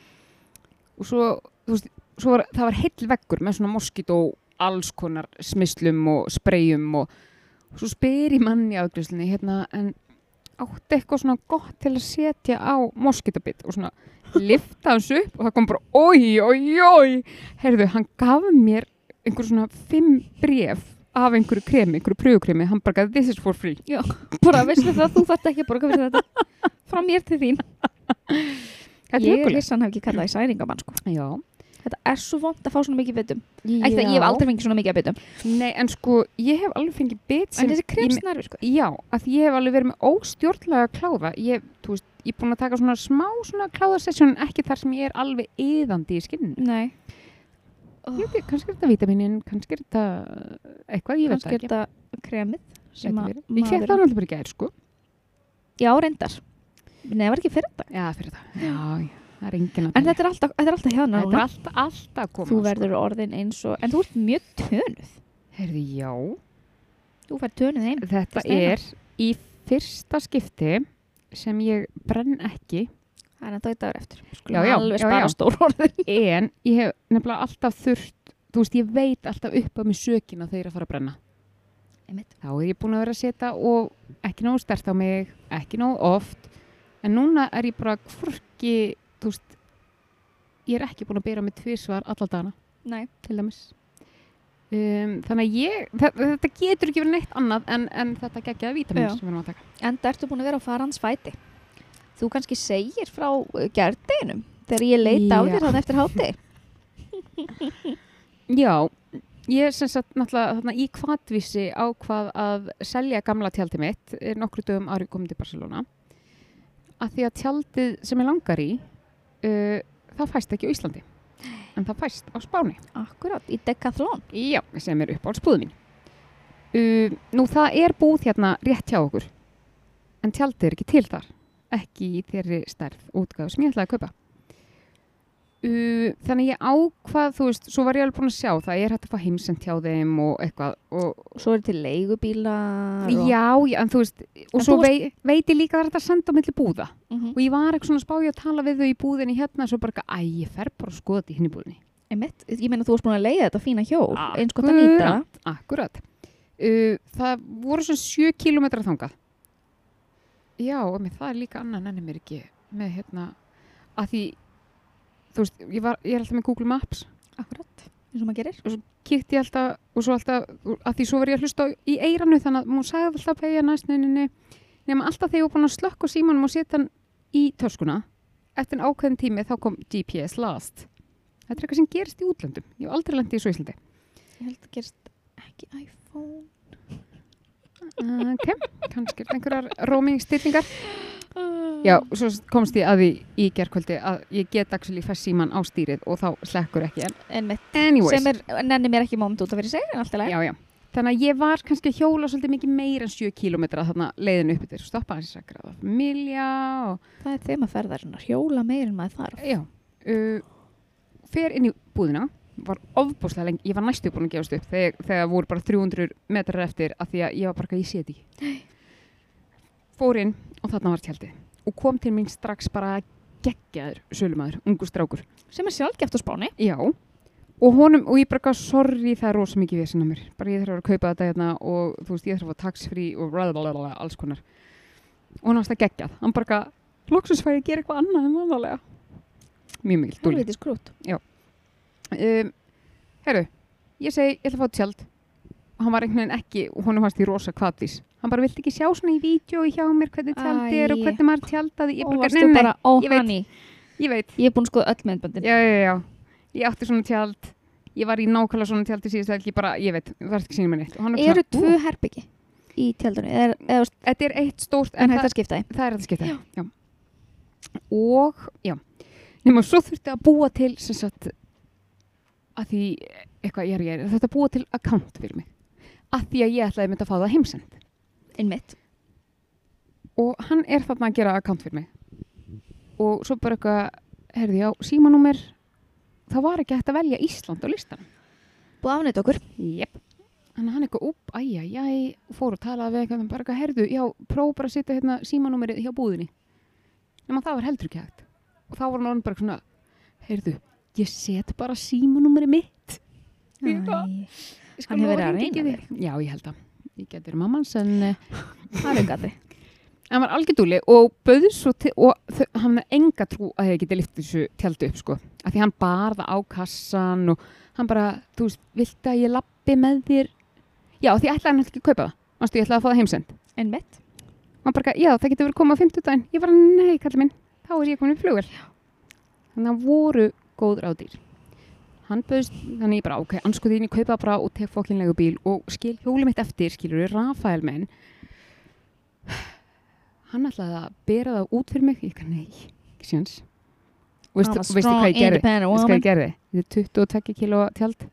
og svo, þú veist, svo var, það var heill veggur með svona moskít og alls konar smislum og spreyjum og, og svo spyr ég mann í afgriðslunni hérna en átti eitthvað svona gott til að setja á moskítabitt og svona lifta hans upp og það kom bara oi, oi, oi heyrðu, hann gaf mér einhver svona fimm bref af einhverju kremi, einhverju pröfukremi hann bara gaf, this is for free
Já, bara veistu það, þú þarft ekki að borga fyrir þetta. Frá mér til þín.
Þetta er
Ég
hugulegt.
vissi hann hef ekki kallað í særingamann sko.
Já,
Þetta er svo vond að fá svona mikið bitum. Ekki það, ég hef aldrei fengið svona mikið af bitum.
Nei, en sko, ég hef alveg fengið bit sem...
En þessi kremsnarfi, sko.
Já, að ég hef alveg verið með óstjórnlega kláða. Ég, þú veist, ég er búin að taka svona smá svona kláðasessjón, ekki þar sem ég er alveg yðandi í skinninu.
Nei. Ah.
Ég veit, ekki, kannski er þetta vitaminin, kannski er þetta eitthvað, ég veit
Kannski er
það ekki.
þetta kremið sem að
Gæti verið. Ég fekk það
maðurinn-
náttúrulega bara í gær, sko.
Já, reyndar. Nei, það var ekki fyrir dag.
Já, fyrir það. Já, já, það er engin að
En þetta er alltaf, þetta er alltaf hjá
Þetta er
nána.
allt, alltaf að koma.
Þú verður orðin eins og, en þú ert mjög tönuð.
Sko. Heyrðu, já.
Þú fær tönuð einn.
Þetta
Steinar.
er í fyrsta skipti sem ég brenn ekki
Það er þetta í dagur eftir.
Já, já,
Alveg
já, já.
spara stór orðin.
en ég hef nefnilega alltaf þurft þú veist, ég veit alltaf upp á mig sökina þegar ég er að fara að brenna
Einmitt.
þá er ég búin að vera að setja og ekki nógu stert á mig, ekki nógu oft en núna er ég bara hvorki, þú veist ég er ekki búin að byrja mig tvísvar allan dagana
Nei.
til dæmis um, þannig að ég, þe- þetta getur ekki verið neitt annað en, en þetta geggjaða vítamins
Já.
sem við erum að taka
Enda ertu búin að vera á farans fæti. Þú kannski segir frá gerðinum þegar ég leita á
Já.
þér þannig eftir háti.
Já, ég sem sagt náttúrulega þarna í kvatvísi ákvað að selja gamla tjaldið mitt eh, nokkru dögum árið komið til Barcelona að því að tjaldið sem ég langar í uh, það fæst ekki á Íslandi en það fæst á Spáni
Akkurát, í Decathlon.
Já, sem er upp á spúðu mín uh, Nú það er búð hérna rétt hjá okkur en tjaldið er ekki til þar ekki í þeirri stærð útgáð sem ég ætlaði að kaupa uh, þannig ég ákvað þú veist, svo var ég alveg búin að sjá það er hægt að fá heimsend hjá þeim og eitthvað og,
Svo er til leigubílar og...
já, já, en þú veist og
En
svo
þú
vei, veit ég líka að það er hægt að senda á milli búða
Mhm.
og ég var eitthvað svona að spá ég að tala við þau í búðinni hérna svo bara, eitthvað, æ, ég fer bara að skoða þetta í henni búðinni
Einmitt, ég meina þú varst búin að leiða þetta fína hjól,
Akkurat.
eins gott að nýta. það.
Akkurat. Uh, það voru svona 7 kilometrar þangað. Já, og með það er líka annan enni mér ekki með hérna, að því, þú veist, ég, var, ég er alltaf með Google Maps,
Akkurát, eins og maður gerir.
kíkti ég alltaf og svo alltaf, að því svo var ég að hlusta á- í eiranu þannig að maður sagði alltaf pegja næstninni, nema alltaf þegar ég var búin að slökka símanum og setja hann í töskuna, eftir en ákveðin tími þá kom GPS last. Þetta er eitthvað sem gerist í útlöndum. Ég hef aldrei landið í svo Íslandi.
Ég held að gerist ekki iPhone.
Ok, kannski er þetta einhverjar roaming-stillingar.
Ah.
Já,
Mm.
svo komst ég að því í gerkvöldi að ég get actually fæst síman á stýrið og þá slekkur ekki. En
Einmitt,
anyways,
sem er, nenni mér ekki mómt út að vera í sig, en alltaf leið.
já, já. Þannig að ég var kannski að hjóla svolítið mikið meira en 7 km þarna leiðinu uppi til stoppa hans að grafa milja og
Það er þeim að ferða svona hjóla meir en maður þarf.
já. Uh, fer inn í búðina, var ofbúslega lengi, ég var næstu búin að gefast upp þegar, þegar voru bara 300 metrar eftir að því að ég var bara ekki, ég sé þetta ekki. Fór inn og þarna var tjaldið og kom til mín strax bara geggjaður sölumæður, ungu strákur.
Sem er sjálfgeft á spáni.
Já, og honum, og ég bara gaf sorry það er rosa mikið vesen á mér, bara ég þarf að vera að kaupa þetta hérna og þú veist, ég þarf að fá tax-free og blablabla, alls konar. Og hann varst að geggjað, hann bara gaf, loksins fær ég að gera eitthvað annað en vanlega. Mjög mikil, dúli.
Helviti skrút.
Um, herru, ég segi, ég ætla að fá tjald. Og Hann var einhvern veginn ekki, og honum varst í rosa kvatís. Hann bara vildi ekki sjá svona í vídjói hjá mér hvernig tjaldi er og
Æ.
hvernig maður tjaldaði. Ég
Og
bara,
varstu bara, ó
ég veit.
hanni,
ég veit.
ég er búin að skoða öll myndböndin.
já, já, já, ég átti svona tjald ég var í nákvæmlega svona tjald í síðast helgi bara, ég veit, það er ekki sínum henni eitt Og hann er
Eru
svona,
tvö herbyggi í tjaldunni? Eða, eða,
ú, þetta er eitt
en
stórt en
hægt
það,
að skipta þeim?
það er þetta skipta já. og, já nema svo þurfti að búa til sem sagt að því, eitthvað, ég er, ég er þetta búa til account fyrir mig að því að ég ætlaði myndi að fá það heimsend
Einmitt.
og hann er þarna að gera account fyrir mig og svo bara eitthvað, herði, já, símanúmer það var ekki hægt að velja Ísland á listanum
Búið afnýtt okkur.
Jep. Þannig að hann eitthvað, úp, æja, jæ, fór og talaði við eitthvað, bara eitthvað, herðu, já, próf bara að setja hérna símanúmerið hjá búðinni. Nefnum það var heldur ekki hægt. Og þá var hann orðin bara svona, herðu, ég set bara símanúmerið mitt.
Æ,
Ég bara- Ég skal
Hann hefur
lofa
verið að
hringja
reyna
í þig. Já, ég held að. Ég get verið mammans, en eh,
Það er gatri.
hann var algjörðúli og bauð svo til, og þau, hann hafði enga trú að þið geti lift þessu tjaldi upp sko, af því hann bar það á kassan og hann bara, þú veist, viltu að ég lappi með þér já, af því ætlaði hann ekki að kaupa það Manstu, ég ætlaði að fá það heimsend
Einmitt.
hann bara, já, það getur verið að koma á 50 daginn ég bara, nei, kallið minn, þá er ég komin í flugvel þannig að voru góð ráðdýr hann bauðst, þannig ég bara, ok, anskuð þín, ég kaupa bara og tek fokkinlegu bíl og skil hjólið mitt eftir, skilur við, Rafael minn, hann ætlaði að bera það út fyrir mig, ég kann, nei, ekki sjans. Og
I'm a
veistu veistu hvað
strong,
ég gerði?
independent
Veistu hvað
woman.
ég gerði? Þetta er 22 kíló tjald,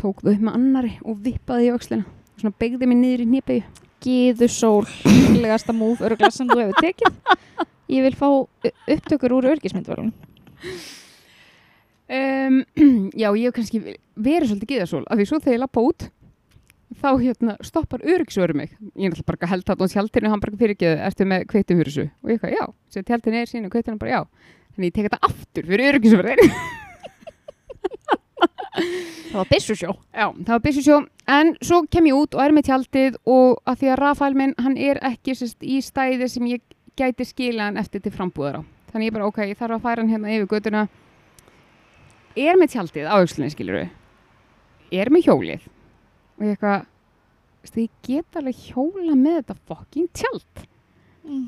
tók þau upp með annari og vippaði í öxlina, svona beigði mig niður í nýbegju.
Gíðu sól, lílegasta múf örgla sem þú hefur tekið Ég vil fá u- upptökur úr örgismyndvælun
Um, já, ég hef kannski verið svolítið gíðasól af því svo þegar ég lappa út þá hérna stoppar öryggsvöru mig ég er náttúrulega bara að held að hún tjaldinu hann bara fyrirgeðu, ertu með kveitum fyrir þessu og ég hvað, já, sem tjaldinu er sín og kveitinu bara já þannig ég tek þetta aftur fyrir öryggsvöru
Það var byssusjó
Já, það var byssu sjó, en svo kem ég út og er með tjaldið og að því að Rafael minn, hann er ekki sérst í stæði sem ég gæti skila hann eftir til frambúðar á. Þannig ég bara, ok, ég þarf að færa hann hérna yfir göttuna. Er með tjaldið á aukslinni, skilur við. Er með hjólið. Og ég eitthvað, veist, ég get alveg hjóla með þetta fucking tjald.
Mm.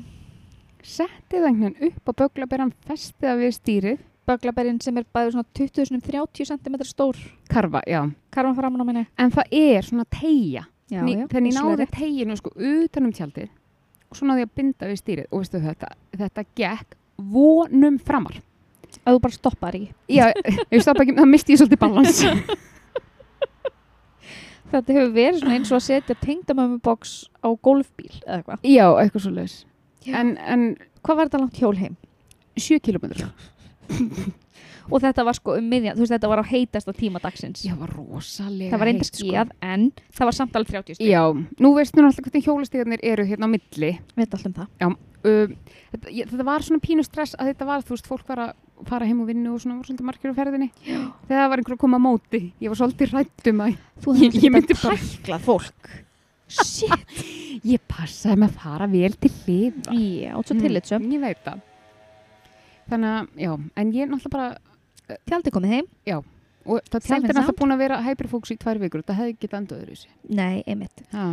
Settið það einhvern veginn upp á böglaberan, festið það við stýrið.
Böglaberinn sem er bæður svona 20-30 cm stór
Karfa, já.
Karfan framan á minni
En það er svona teigja.
já,
Ný, þannig ég náði
vissulega.
teginu sko utanum tjaldið og svo náði ég að binda við stýrið og veistu þetta, þetta gekk vonum framar.
Ef þú bara stoppar í
Já, ef ég stoppa ekki, þá misti ég svolítið balans.
Þetta hefur verið svona eins og að setja tengdamömmuboks á golfbíl eða hvað
Já, eitthvað svo leiðis.
Já.
En, en
Hvað var þetta langt hjól heim?
sjö kilómetrar.
Og þetta var sko um miðjan, þú veist þetta var á heitasta tíma dagsins
Já, var rosalega
Það var
heitt,
reyndar
sko.
skíðað en það var samt alveg 30 stíð
Já, nú veistu nú alltaf hvernig hjólastíðarnir eru hérna á milli.
Við veitum alltaf um það
Um, þetta, ég, þetta var svona pínu stress að þetta var, þú veist, fólk var að fara heim og vinnu og svona var svolítið margir á ferðinni. Já. Þegar það var einhver að koma á móti, ég var svolítið rætt um að
Þú
Ég- ég myndi
bara tæklað fólk Shit
Ég passaði með að fara vel til hliða.
Já, og svo
Mm.
tillitsum
Hmm, Ég veit það. Þannig að, já, en ég er náttúrulega bara,
Tjaldi komið heim
og það
Sem
tjaldi
er
er
samt.
náttúrulega búin að vera hyperfóks í tvær vikur, það hefði ekki endað öðru þessi.
Nei, einmitt
Já,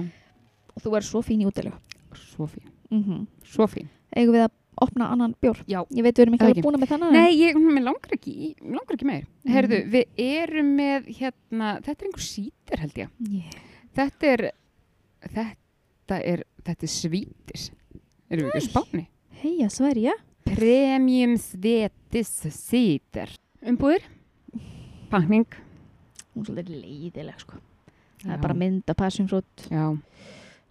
Og þú er svo fín í útilegu
svo fín,
mm
svo fín.
Eigum við að opna annan bjór
Já.
Ég veit við erum ekki
Það
alveg
ekki.
búin með þennan
Nei, ég, mér langar ekki, í- mig langar ekki meir.
Mm.
Herðu, við erum með, hérna, þetta er einhver sítir held ég.
yeah.
Þetta er, þetta er, þetta er svítis. Erum við ekki á spáni?
Heia, Sverja
Premium svetis sítir. Umbúðir? Pakning.
Hún er svolítið leiðileg sko Það
Já.
er bara mynd af passion fruit
Já,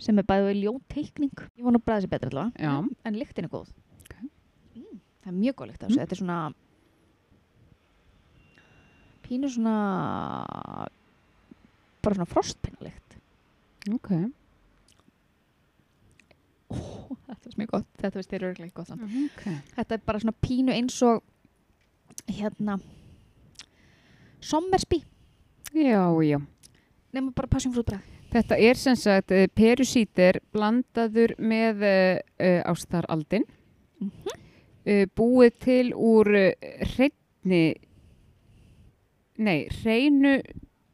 sem er bæðið ljóð teikning Ég vona að bræða sér betra allavega
já.
En lyktin er góð
Ok.
mm, Það er mjög góð lykt af þessu
Mm.
Þetta er svona pínu svona bara svona frostpinnalikt
Ok.
Þetta er mjög gott, þetta veist þér örglega gott samt.
Ok.
þetta er bara svona pínu eins og hérna sommersby
Já, já.
nema bara passjónfrútbræð
Þetta er sem sagt eh, perusítir blandaður með uh, ástaraldin, mm
Mhm.
búið til úr reyni, nei, reynu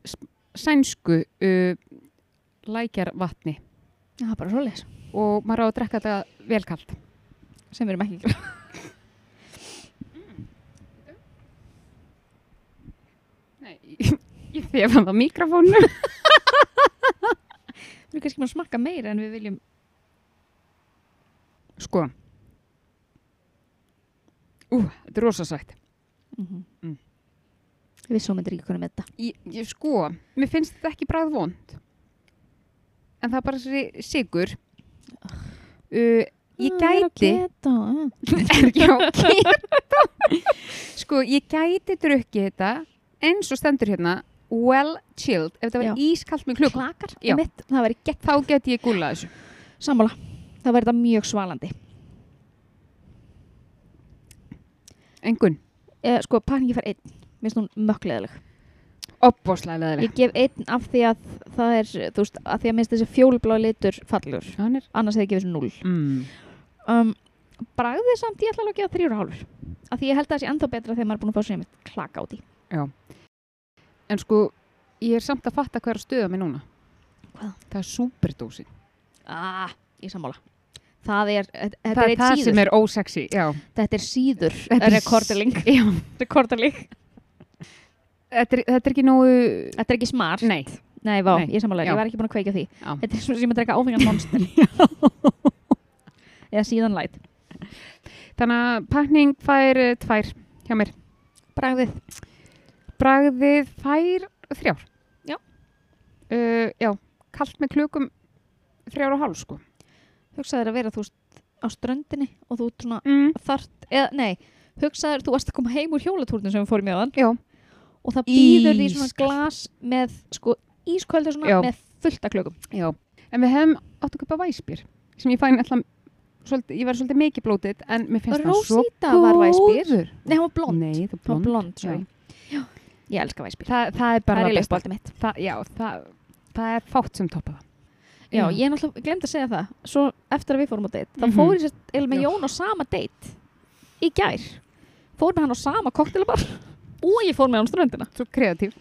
s- sænsku uh, lækjar vatni
það er bara svoleiðis
og maður á að drekka þetta velkalt.
sem við erum ekki að gera.
Nei, ég þefa það á mikrofónu.
við erum kannski með að smakka meira en við viljum
Sko. Ú, þetta er rosasætt.
mm -hmm.
Mm.
við svo myndir ekki konum með þetta
Ég, ég, sko, mér finnst þetta ekki bræð vond en það er bara sér sigur uh, ég gæti
Ah, geta, uh.
er ekki á keto. sko, ég gæti drukki þetta eins og stendur hérna well chilled, ef þetta
Já.
verður ískalt með klukk
klakar,
Já.
mitt, það væri gegn
þá get ég gúlað þessu
sammála, það væri þetta mjög svalandi
engun,
eh, sko pakningi fær einn, mér finnst hún mökleðileg
opboslega leðileg
ég gef einn af því að það er þú veist, af því að minnst þessi fjólublá litur fallur,
hann er
annars hefði ég gefið þessu 0
mm.
um, bragðið samt ég ætla alveg að gefa þrjúra hálfur af því ég held að það sé ennþá betra þegar maður er búin að fá sér einmitt klaka á því
en sko, ég er samt að fatta hvað er að stuða mig núna
Hvað?
það er superdósin
ah, ég sammála það er, þetta
það,
þetta er
er
eitt
það
síður
sem er ósexy já.
þetta er síður
Þetta er-
rekordeling
já,
rekordeling
þetta er, þetta er ekki nógu
Þetta er ekki smart.
Nei,
Nei, vá,
Nei.
ég er samanlega,
Já.
ég var ekki búin að kveika á því.
Já.
Þetta er svona sem að drekka áfengan monster. Eða síðan light.
þannig að pakning fær eh, tvær hjá mér
Bragðið.
bragðið fær þrjár
Já.
uh, já, kallt með klukum þrjár og hálf sko
Hugsaðu þér að vera þú veist á ströndinni og þú ert svona
mm.
þart, eða nei, hugsaðu þér þú varst að koma heim úr hjólatúrnum sem við fórum í áðan
já,
og það býður því
Ískalt.
svona glas með sko ísköldu svona
Já.
með fullt af klökum.
já en við hefum átt að kaupa væsbýr sem ég fæn alltaf svolítið, ég var svolítið mikið blótið en mér finnst það svo
Rósita var væsbýr.
góður.
Nei, hún var blond.
Nei, það er
Hún var
blond.
blond, sorry. Já. Ég elska væsbýr.
Það, það er bara
það er
það
í
besta.
uppáldið mitt.
Það, já, það, það er fátt sem toppa það.
Já, ég er náttúrulega glemt að segja það. Svo eftir að við fórum á date, þá
Mhm.
fór ég sérst eða með
Já.
Jón á sama date í gær. Fór með hann á sama koktelabar og ég fór með hann á ströndina.
Svo kreatív.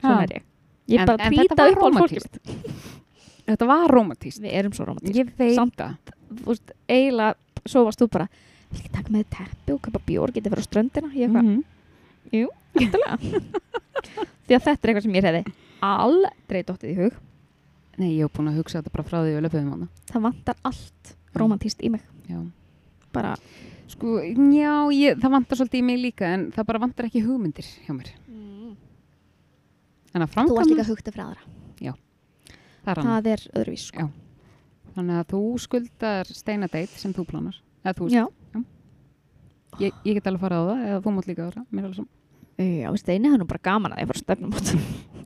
Svona er ég. Ég
En-
bara
en þetta
trýta
var
upp á fólki.
rómantískt. Þetta var romantíst.
Við erum svo romantísk.
Ég veit
Samt-
það.
Þú veist, eiginlega, svo varst þú bara, vil ekki taka með þér teppi og köpa bjór, getið að fara á ströndina? Ég eitthvað,
Mhm.
því að þetta er eitthvað sem ég hefði aldrei dottið í hug.
Nei, ég hef búin að hugsa þetta bara frá því við löpum um hana.
Það vantar allt romantíst í mig.
Já.
Bara,
Sko, já, ég, það vantar svolítið í mig líka en það bara vantar ekki hugmyndir hjá mér.
Mm. þú
Þannig að
ert líka
framkvæmd,
hugt af aðra.
það er hann.
Það er öðruvís. Sko.
Þannig að þú skuldar steinadeit sem þú planar. Eða þú,
Já.
ég, ég get alveg farið á það eða þú mátt líka á það. Mér er alveg saman.
Já, steini, það er nú bara gaman að ég fara á stefnumót.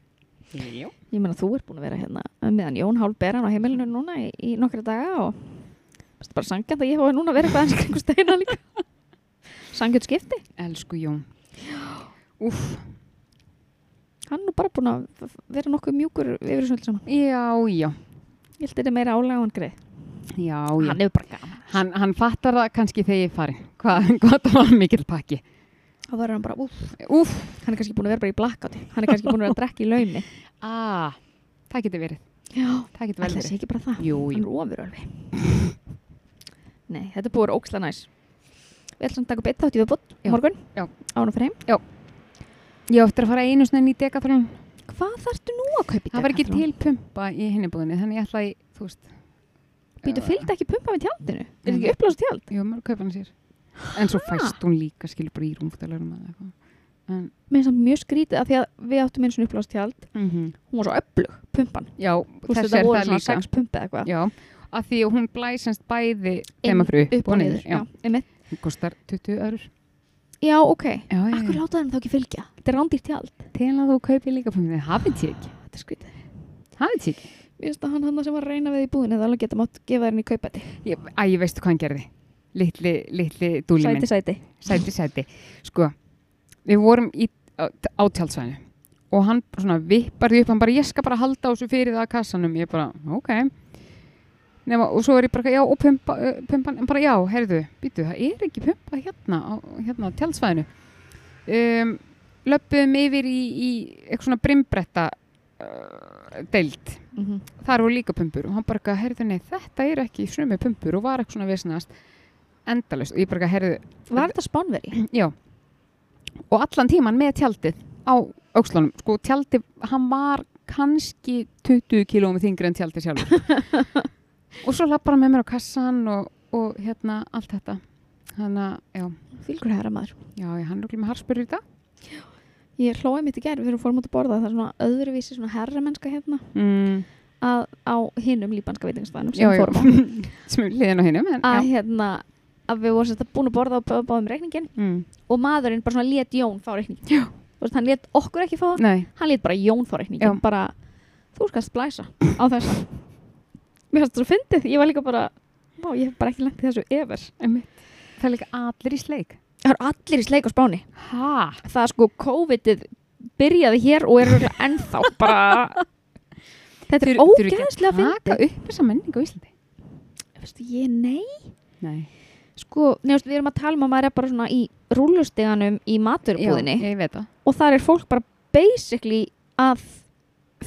Jú.
Ég meina, þú ert búin að vera hérna meðan Jón Hálf ber hann á heimilinu núna í, í nokkra daga og það er bara sangjant að ég hafa núna verið eitthvað eins kringu steina líka. Sangjant skipti,
Elsku Jón. Úff.
hann er nú bara búin að vera nokkuð mjúkur yfir þessu öll saman.
Já, já.
Ég held þetta er meira álega á hann greið.
Já, já.
Hann hefur bara gaman.
Hann, hann fattar það kannski þegar ég fari. Hvað, hvað það var mikill pakki.
Þá verður hann bara, úf,
Úf,
hann er kannski búin að vera bara í blackouti. Hann er kannski búin að vera að drekka í laumi.
aaa, það getur verið.
Já,
Það getur vel
alltaf
verið.
sé ekki bara það.
Jú,
Hann
jú.
er ofur alveg. Nei, þetta er búin óksla næs. Við ætlum að taka upp eitt þátt í viðbót
Já.
morgun.
Já.
Ána fyrir heim.
Ég á eftir að fara einu snenn í degathrón.
Hvað þarftu nú að kaupa í
Það var ekki til pumpa í henni búðinni, þannig ég ætla að, þú veist,
Býtu, fylgdi ekki pumpa með tjaldinu? Er
Nei.
ekki upplást tjald?
ég var maður að kaupa hann sér. En svo fæst hún líka, skilur bara í rúmfutalegum eða eitthvað. En,
Mér finnst það mjög skrítið af því að við áttum eins og upplást tjald. Hún var svo öflug, pumpan.
já,
Mhm. Þú veist
þess
þetta
er
voru
það
svona
líka.
sex pumpa eða eitthvað.
Já, af því að hún blæsast bæði
Inn,
þeim að fru
Upp og niður. Já,
Já,
einmitt.
hún kostar 20 örur.
Já, ok.
Já, já,
Akkur
já.
láta þeim þá ekki fylgja? Þetta er rándýrt tjald.
Til að þú kaupir líka pumpið, hafið þið ekki.
Þetta er skrítið.
Hafið þið ekki.
Mér finnst að hann hann sem var að reyna við í búðinu það alveg geta mátt gefa henni kaupæti.
Ég, æ, ég veistu hvað hann gerði. Litli, litli dúli minn.
Sæti, sæti.
Sæti, sæti. Sko, við vorum í, á, á tjálsvæðinu og hann bara svona vippar því upp, hann bara, ég skal bara halda á þessu fyrir það að kassanum. Ég bara, ok. Nefna, og svo er ég bara, já, og pumpa, eh, pumpan, en bara, já, heyrðu, býtu, það er ekki pumpa hérna á, hérna á tjálsvæðinu. Um, löpum yfir í, í eitthvað svona brimbretta uh, deild
Mhm.
þar voru líka pumpur og hann bara eitthvað, herðu nei, þetta er ekki sumi pumpur og var eitthvað svona vesnaðast endalust og ég bara eitthvað, herðu,
Var þetta spánveri?
já og allan tíman með tjaldið á aukslunum, sko tjaldið hann var kannski 20 kílómi þingri en tjaldið sjálfur og svo lappar hann með mér á kassan og, og hérna allt þetta þannig að, já,
Fylgur herra maður.
já, ég hann rúkli með harspur í dag
Ég hlóði mitt í gerð fyrir að fórum út að borða það er svona öðruvísi svona herramennska hérna
mm,
að, á hinum líbanska veitingastæðanum sem
já,
við
já,
fórum á.
sem er liðin á hinum en,
að
já,
hérna að við vorum sérst búin að borða og bá- báðum reikningin
mm,
og maðurinn bara svona let Jón fá reikningin
Já.
Þú veist, hann let okkur ekki fá það
nei,
hann let bara Jón fá reikningin
Já.
bara þú skast blæsa á þessa mér fannst það svo fyndið ég var líka bara Má, ég hef bara ekki lengt í þessu yfir.
það er líka allir í sleik
Það eru allir í sleik á spáni.
hæ?
Það er sko COVID-ið byrjaði hér og er örugglega ennþá bara... Þetta er
Þur- þurfi ekki að
ógæðslega
taka
fyndið.
upp þessa menningu í Íslandi
Veistu, Ég, nei,
Nei,
sko, nefnst, við erum að tala um að maður er bara svona í rúlusteganum í maturbúðinni.
ég veit það,
og þar er fólk bara basically að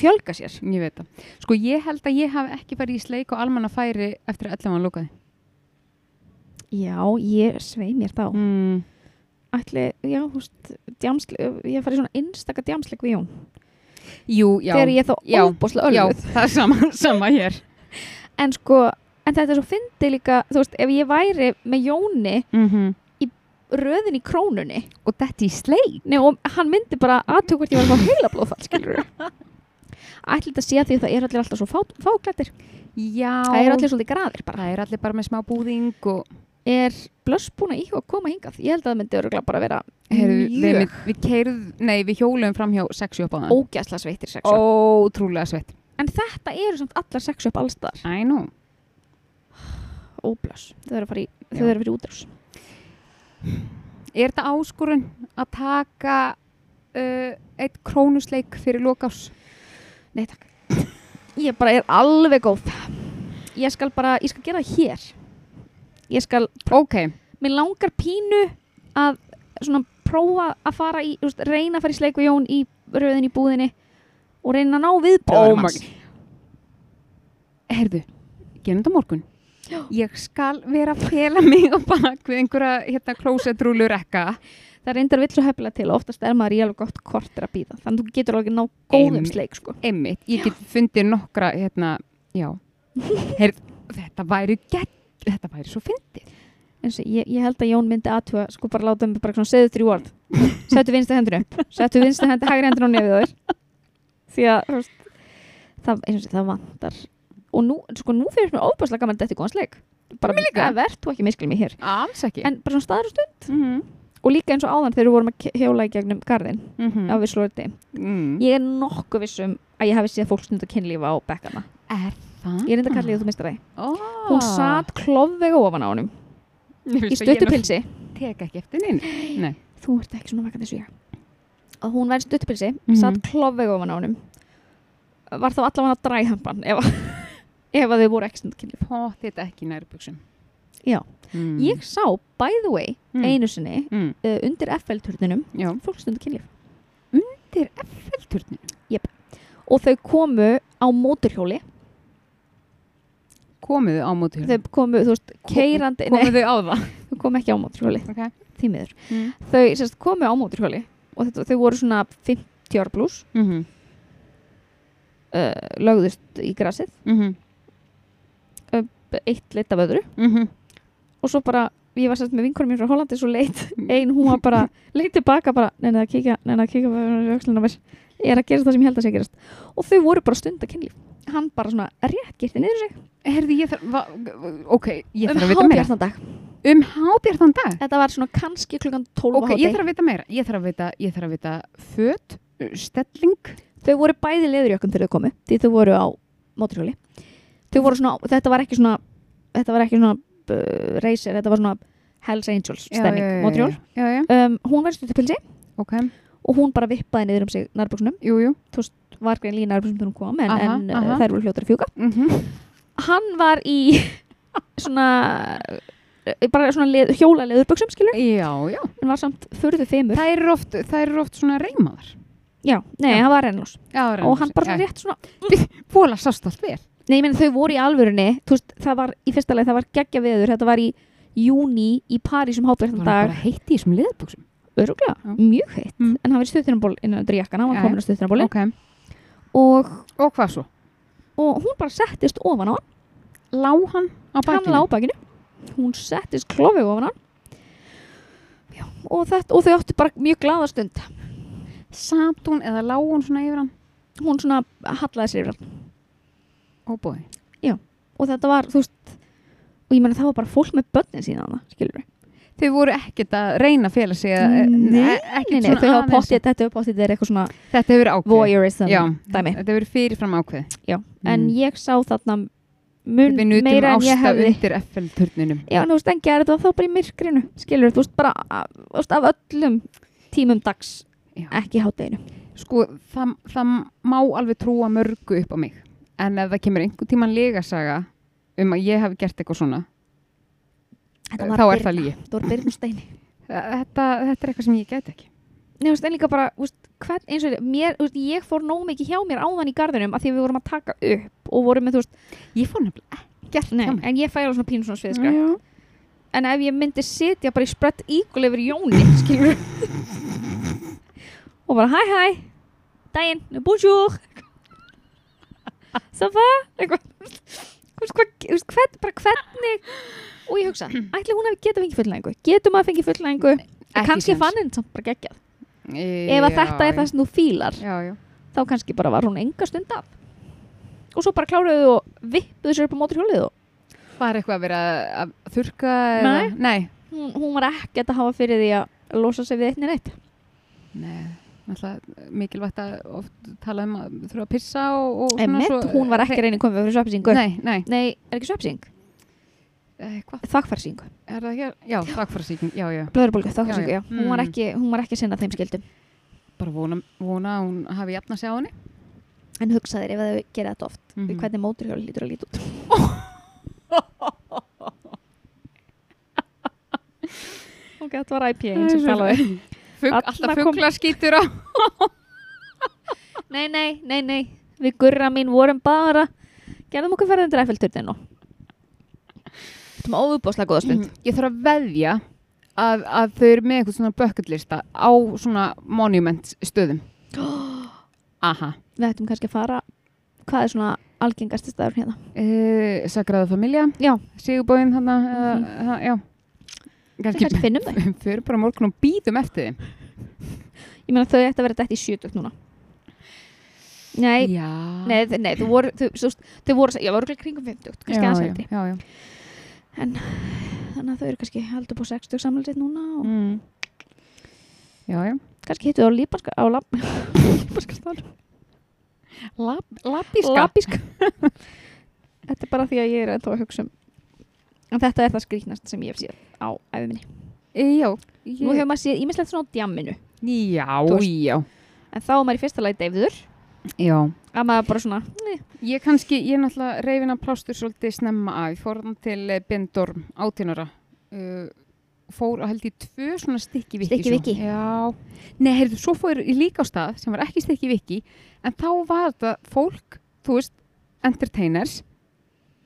fjölga sér
ég veit það sko ég held að ég hafi ekki farið í sleik og almanna færi eftir að 11 mann lókaði
Já, ég svei mér þá
mm.
ætli, já, húst, djámsli, ég fari svona einstaka djámsleik við Jón.
Jú, já.
Þegar ég er þá
Já.
óbúslega
Já,
ölluð.
það er sama, sama hér.
En sko, en þetta er svo fyndi líka, þú veist, ef ég væri með Jóni röðin í krónunni
Mhm. Og þetta í sleik.
Nei, og hann myndi bara aðtöku hvort ég var að fá heila blóðfall, skilur Ætli þetta sé að því að það er allir alltaf svo fá, fáklættir.
Já.
Það er allir svolítið graðir bara.
það er allir bara með smá búðing og
Er blöss búin að íhuga að koma hingað? Ég held að það myndi öruglega bara vera
Heyrðu, við,
mjög
við, við keirð, nei, við hjólum fram hjá sexu upp á þann.
ógæsla sveittir sexu.
Ótrúlega svett.
En þetta eru samt allar sexu upp allstaðar.
I know.
Óblöss. Þau eru að fara í, þau
Já.
eru að fara í útrás.
Er þetta áskorun að taka uh, eitt krónusleik fyrir lokás?
Nei, takk. Ég bara er alveg góð. Ég skal bara, ég skal gera það hér. Ég skal
Ok,
mér langar pínu að svona prófa að fara í, þú veist, reyna að fara í sleik við Jón í röðin í búðinni og reyna að ná
Oh my-
viðbröðum hans.
herðu, gerum þetta á morgun. Ég skal vera að fela mig á bak við einhverja hérna klósetrúlu rekka.
Það reyndar vill svo hefla til og oftast er maður í alveg gott kortir að býða. Þannig að þú getur alveg ná góðum
Einmitt.
sleik, sko.
Einmitt, ég get fundið nokkra, hérna, já. Herðu, þetta væri gett, þetta væri svo fyndið.
En svo, ég, ég held að Jón myndi aðtuga, sko bara láta mig bara svona segðu þrjú orð. Settu vinstu hendinu upp. Settu vinstu hendinu, hægri hendinu á nefið á þér. Því að, þú veist, það, eins og sé, það vantar. Og nú, sko, nú fyrir mér óbærslega gaman að þetta er góðan sleik. Bara,
Mér líka.
Eh, Vertu ekki miskil mig hér.
Alls ekki.
En bara svona staður og stund. Mhm,
mm
og líka eins og áðan þegar við vorum að ke- hjóla í gegnum garðin
-hmm.
á Visslóti
mm.
ég er nokkuð vissum að ég hafi séð fólk snunda kynlífa á bekkana
Er
ég
það?
er enda kallið að þú mistar það
oh.
hún satt klofvega ofan á honum í stuttupilsi
Tek ekki eftir neina. Nei.
þú ert ekki svona vakandi svíja og hún væri stuttupilsi, mm
Mhm.
satt klofvega ofan á honum var þá allavega að dræhampan ef, að- ef að þau voru ekki snunda kynlífa
Pottit ekki nærbuksum.
Já.
Mm.
ég sá, by the way,
Mm.
einu sinni
Mm.
uh, undir FL-turninum
Já.
fólk snunda kynlíf
Þetta er FL-turninu.
og þau komu á móturhjóli
Komuðu á móti
þau komu, þú veist, keirandi nei,
Komuðu á það.
þau komu ekki á móturhjóli,
Ok.
því miður
Mm.
þau sérst, komu á móturhjóli og þetta, þau voru svona 50 ára pluss
Mm -hmm.
uh, lögðust í grasið,
Mm -hmm.
eitt leitt af öðru
Mm -hmm.
og svo bara, ég var sérst með vinkunum mér frá Hollandi svo leitt, ein hún var bara leitt tilbaka bara, neina að kíkja neina að kíkja bara öxlina mér, ég er að gera það sem ég held að sé að gerast og þau voru bara stund að kynlíf hann bara svona rétt girti niður sig
Herði ég þarf, va, ok, ég þarf að
um
vita meira.
hábjartan dag,
Um hábjartan dag?
þetta var svona kannski klukkan 12
Ok,
okay,
ég
hátti,
þarf að vita meira. Ég þarf að vita, ég þarf að vita föt, uh, stelling.
þau voru bæði leðurjökum þegar þau komu, því þau voru á móturhjóli þau voru svona, þetta var ekki svona þetta var ekki svona uh, racer, þetta var svona Hells Angels
Já, já,
stemning
já,
móturhjól
Já, já, já.
um, hún var stutupilsi
ok.
og hún bara vippaði niður um sig nærbuksunum
Jú, jú.
var grein lína nærbuksunum þegar hún kom en,
Aha,
en aha.
aha.
þær voru hljótar að fjúka
Mm
hann var í svona eh, bara svona leð, hjóla leðurbuksum skilur,
Já, já.
en var samt furðu femur,
Það eru oft, það eru oft svona reymaðar.
já, nei,
Já.
hann var rennlós
Já,
og hann bara
já.
svona rétt svona
Fóla sást allt vel.
Nei, ég meina þau voru í alvörunni þú veist, það var í fyrsta leið, það var geggja veður þetta var í júni í París um
Það
hábjörnum
var
dag,
bara heitt í þessum liðbuksum.
öruglega,
Já.
mjög heitt
Mm.
en hann var í stuðtunaból innan undir jakkan, hann
Já,
var
já.
komin á stuðtunaból
Ok.
og,
Og hvað svo?
og hún bara settist ofan á hann,
Lá hann á bakinu?
hann lá á bakinu hún settist klofið ofan á hann Já, og, þetta, og þau áttu bara mjög glaða stund
Samt hún eða lá hún svona yfir hann?
hún svona hallaði sér yfir hann
Ó bóði.
og þetta var, þú veist og ég meina það var bara fólk með börnin sína þarna, skilur við
Þau voru ekkert að reyna að fela sig eða
Nei,
ekkert
Nei, nei,
svona
þau hafa
aðeins-
pottið, þetta hefur pottið, þetta er eitthvað svona
Þetta hefur ákveð.
voyeurism
Já,
dæmi.
þetta hefur fyrirfram ákveð.
Já, en ég sá þarna mun
Við Mm. nutum
meira en
ásta
ég hefði
undir FL-turninum.
Já, en þú veist, en gerði þetta þá bara í myrkrinu skilur, þú veist, bara af, þú veist, af öllum tímum dags,
Já.
ekki hátteginu
Sko, það, það má alveg trúa mörgu upp á mig. En ef það kemur einhver tíman legasaga um að ég hafi gert eitthvað svona, eh, þá er það lígi.
Þú voru byrjum steini
Þetta, þetta er eitthvað sem ég get ekki.
Nei, þú veist, en líka bara, þú veist, hvern, eins og mér, þú veist, ég fór nóg mikið hjá mér áðan í garðinum að því að við vorum að taka upp og vorum með, þú veist,
Ég fór nefnilega
gert
hjá mér.
en ég færa svona pínu svona sviðskra
Já.
en ef ég myndi sitja bara í sprett ígul yfir Jóni skilur og bara hæ hæ daginn, bonjour ça va eitthvað Þú veist, hvað- þú veist, hvern, bara hvernig og ég hugsa, ætli hún hafi getað fengið fullnæðingu getur maður fengið fullnæðingu
Ekki
kannski
séns.
fann henni samt bara geggjað ef
Ef
að þetta er það sem þú fílar
Já, já.
þá kannski bara var hún enga stund af og svo bara kláruðu þau og vippuðu sér upp á mótur hjólið og
Var eitthvað að vera að þurka?
Nei.
Eða? Nei.
hún, hún var ekkert að hafa fyrir því að losa sig við eitt neitt
Nei. Alltaf mikilvægt að oft tala um að þurfa að pissa og, og eh,
Emmett, hún var ekki að reyna að koma fyrir svepsingu
Nei, nei.
Nei, er ekki svepsing?
Eh, Hvað?
Þakkfærsing
Er það hér? Já, þakfarasíking. Já, já.
Blöðurbólgu, þakkfærsing, já,
Já, já.
Hún, var
Mm.
ekki, hún var ekki að sinna þeim skildum
Bara vona, vona að hún hafi jafna sig á henni.
En hugsaðir ef þau gera þetta oft
Mhm.
Hvernig móturhjóli lítur að líti út Ok, þetta var IPA
eins og talaði. Fug,
um Alla
alltaf
kom-
fugla skýtur á.
Nei, nei, nei, nei Við gurra mín vorum bara Gerðum okkur ferðin til Eiffelturnin og Þetta var óvuboslega góða stund
Mm, Ég þarf að veðja að, að þau eru með eitthvað svona bökkullista á svona monument stöðum. Mhm. Aha.
Við ættum kannski að fara Hvað er svona algengasti staður hérna?
Uh, Sagraða familja.
Já.
Sigurbóin þarna. Mm
Mhm.
-hmm. Já.
Kannski
Kannski
finnum þau
við fyrir bara á morgun og býðum eftir þeim.
Ég meina þau ætti að vera dætt í sjötugt núna Nei,
Já.
Nei, þau- nei, þau voru, þau, þú veist, þau voru, ég var örgulega kringum 50, kannski aðeins eldri.
Já, já.
Þannig að þau eru kannski heldur på 60 samlega núna og
Mm. Já, já.
kannski hittu þau á lípaska, á lab, lípaskastan.
Lab, labíska.
Labíska. þetta er bara því að ég er ennþá að hugsa um. En þetta er það skrýknast sem ég hef séð á æfuminni.
Já.
Nú
Ég...
hefur maður séð ímislegt svona á djamminu.
Já,
Þú veist-
já.
En þá er maður í fyrsta lagi deyfður.
Já.
Að maður bara svona, nei,
Ég kannski, ég er náttúrulega reyfin að plástur svolítið snemma að, ég fór hann til eh, Bindorm átínara, uh, fór að held ég tvö svona stikki viki.
Stykki
svo.
Vikki?
Já, nei, heyrðu, svo fór ég líka á stað sem var ekki stikki viki, en þá var þetta fólk, þú veist, entertainers,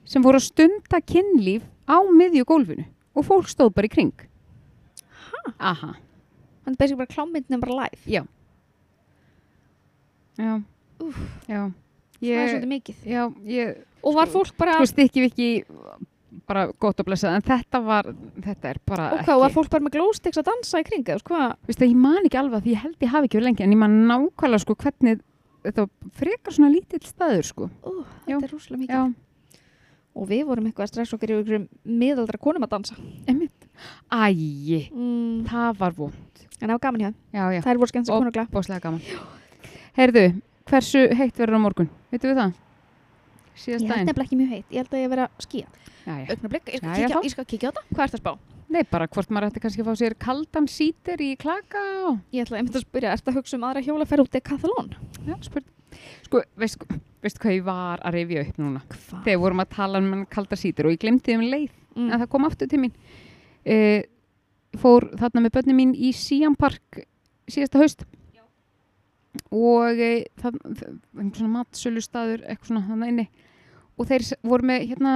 sem voru að stunda kynlíf á miðju gólfinu og fólk stóð bara í kring. Hæ? Aha,
hann er basically bara klámyndin bara live.
já,
Úff.
já,
Það er
ég,
svolítið mikið.
já, ég,
Og var fólk bara,
sko stikki við ekki bara gott og blessað, en þetta var þetta er bara
og
ekki
hvað, var fólk bara með glóstekst að dansa í kringa, hvað?
Vistu, ég man ekki alveg að því ég held ég hafi ekki verið lengi en ég man nákvæmlega sko hvernig þetta var frekar svona lítill staður sko
Ó,
Já.
þetta er rúslega mikið.
já,
og við vorum eitthvað að stressa okkur yfir ykkur miðaldra konum að dansa
einmitt ægi,
mm.
það var vond
en það var gaman hjá þeim,
já, já,
þær voru skemmt
Og-
sem konuglega
bóðslega gaman heyrðu, hversu heitt verður á morgun veitum við það?
ég
síðast
held
daginn
nefnilega ekki mjög heitt, ég held að ég vera að skýja
já, já.
augnablik, ég
Jæja, þá.
ég skal kíkja á það, hvað ert að spá?
nei, bara hvort maður ætti kannski að fá sér kaldan sítir í klaka og
ég ætla einmitt að spyrja, ert að hugsa um aðra hjólaferð út í Kathalón?
já, spurt sko, veist, veist hvað ég var að rifja upp núna
hvað?
þegar við vorum að tala um hann kalda sítur og ég glemti um leið en
Mm.
það kom aftur til mín uh, fór þarna með börnum mín í Sian Park síðasta haust og uh, það um svona matsölu staður eitthvað svona þarna inni og þeir s- voru með hérna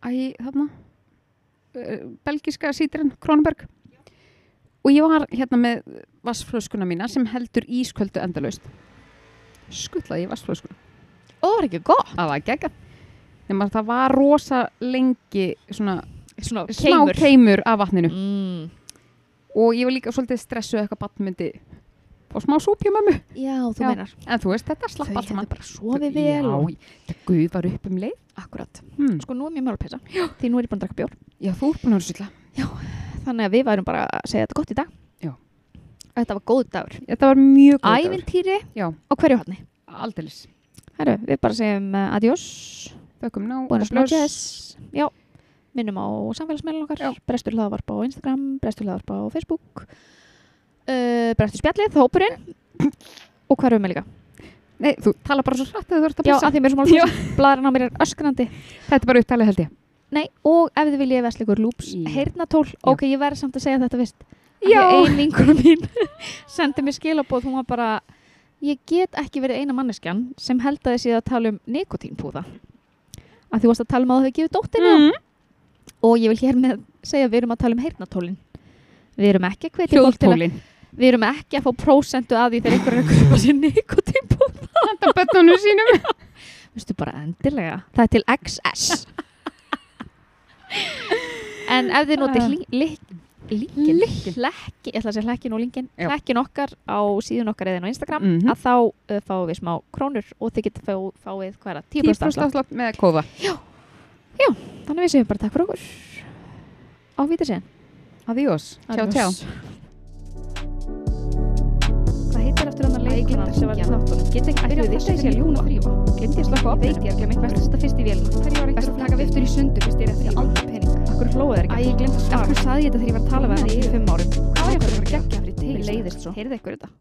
æ, þarna uh, belgiska síturinn, Kronenberg og ég var hérna með vassflöskuna mína sem heldur ísköldu endalaust skuttlaði ég vassflöskuna
og það var ekki gott,
að það gegga nema að það var rosa lengi svona
svona
smá keimur af vatninu
Mm.
og ég var líka svolítið stressuð eitthvað batnmyndi og smá súpjum ömmu
já, þú
Já,
meinar
en þú veist þetta slapp
þau
allt
hefðu
saman
bara sofið vel og-
já, þetta guð var upp um leið
akkurat,
hmm.
sko nú er mér málpessa því nú er ég búin að draka bjór
já þú er búin að sýtla
þannig að við værum bara að segja þetta gott í dag
Já.
þetta var góð dagur
þetta var mjög góð dagur.
ævintýri
Já.
á hverju hotni
aldeilis
Herru, við bara segjum uh, adjós
þökkum ná og
Buenas
bless.
noches. Já, minnum á samfélagsmeilin okkar,
Já.
Brestur hlaðvarpa á Instagram, Brestur hlaðvarpa á Facebook, uh, Brestur spjallið, hópurinn og hvað erum við með líka?
nei þú tala bara svo hratt að þú ert að
Já,
blessa
að því mér er svo
Já.
málfins, bladran á mér er öskrandi.
þetta er bara upptalið held ég
Nei, og ef þið viljið vestlíkur loops,
Já.
heyrnatól, ok, ég verði samt að segja þetta fyrst. Af því
Já.
að Ein vingur mín sendi mér skilabóð, hún var bara, ég get ekki verið eina manneskjan sem held að þið séð að tala um
Mm.
nikotínpúða. Að þú varst að tala um að þau hefði gefið dóttinni á og ég vil hér með segja að við erum að tala um heyrnatólin við erum ekki að hvetja fólk til að
Hljóðtólin.
við erum ekki að fá prósentu að því þegar einhver er að kaupa sér nikotínból
Handa bönnunum sínum.
veistu bara endilega, það er til XS en ef þið notið lí- lí- líkin hlækkin, Ah. ég ætla að segja hlækkin og líkin
Já.
hlækkin okkar á síðun okkar eða inn á Instagram
Mhm.
að þá uh, fáum við smá krónur og þið getur fá, fáið hvað er það, 10%
Tíbrúst
afslátt.
afslátt með kofa.
þannig við segjum bara takk fyrir okkur á vítasinn
Adiós. Tjá, tjá.
Hvað heitir eftir hann að leikuna sem var í þáttunum? Get ekki
Ætli
byrjað
við
þess að
vissum
sé
ekki
ljúna
ljúga?
þrýfa. Glemt ég að slökka
Ég
opnum.
veit
Veit ég ekki að mitt best að setja fyrst í vélina. Hverju var best að taka viftur í sundur fyrst ég er eftir aldrei pening.
okkur flóðið er
Æ, ég glemt að svara. Af hverju saði ég þetta þegar ég var að tala við það í fimm árum? Hvað er ég bara að gegja fyrir
Mér
tegis?
leiðist svo.
Heyrðu ykkur þetta?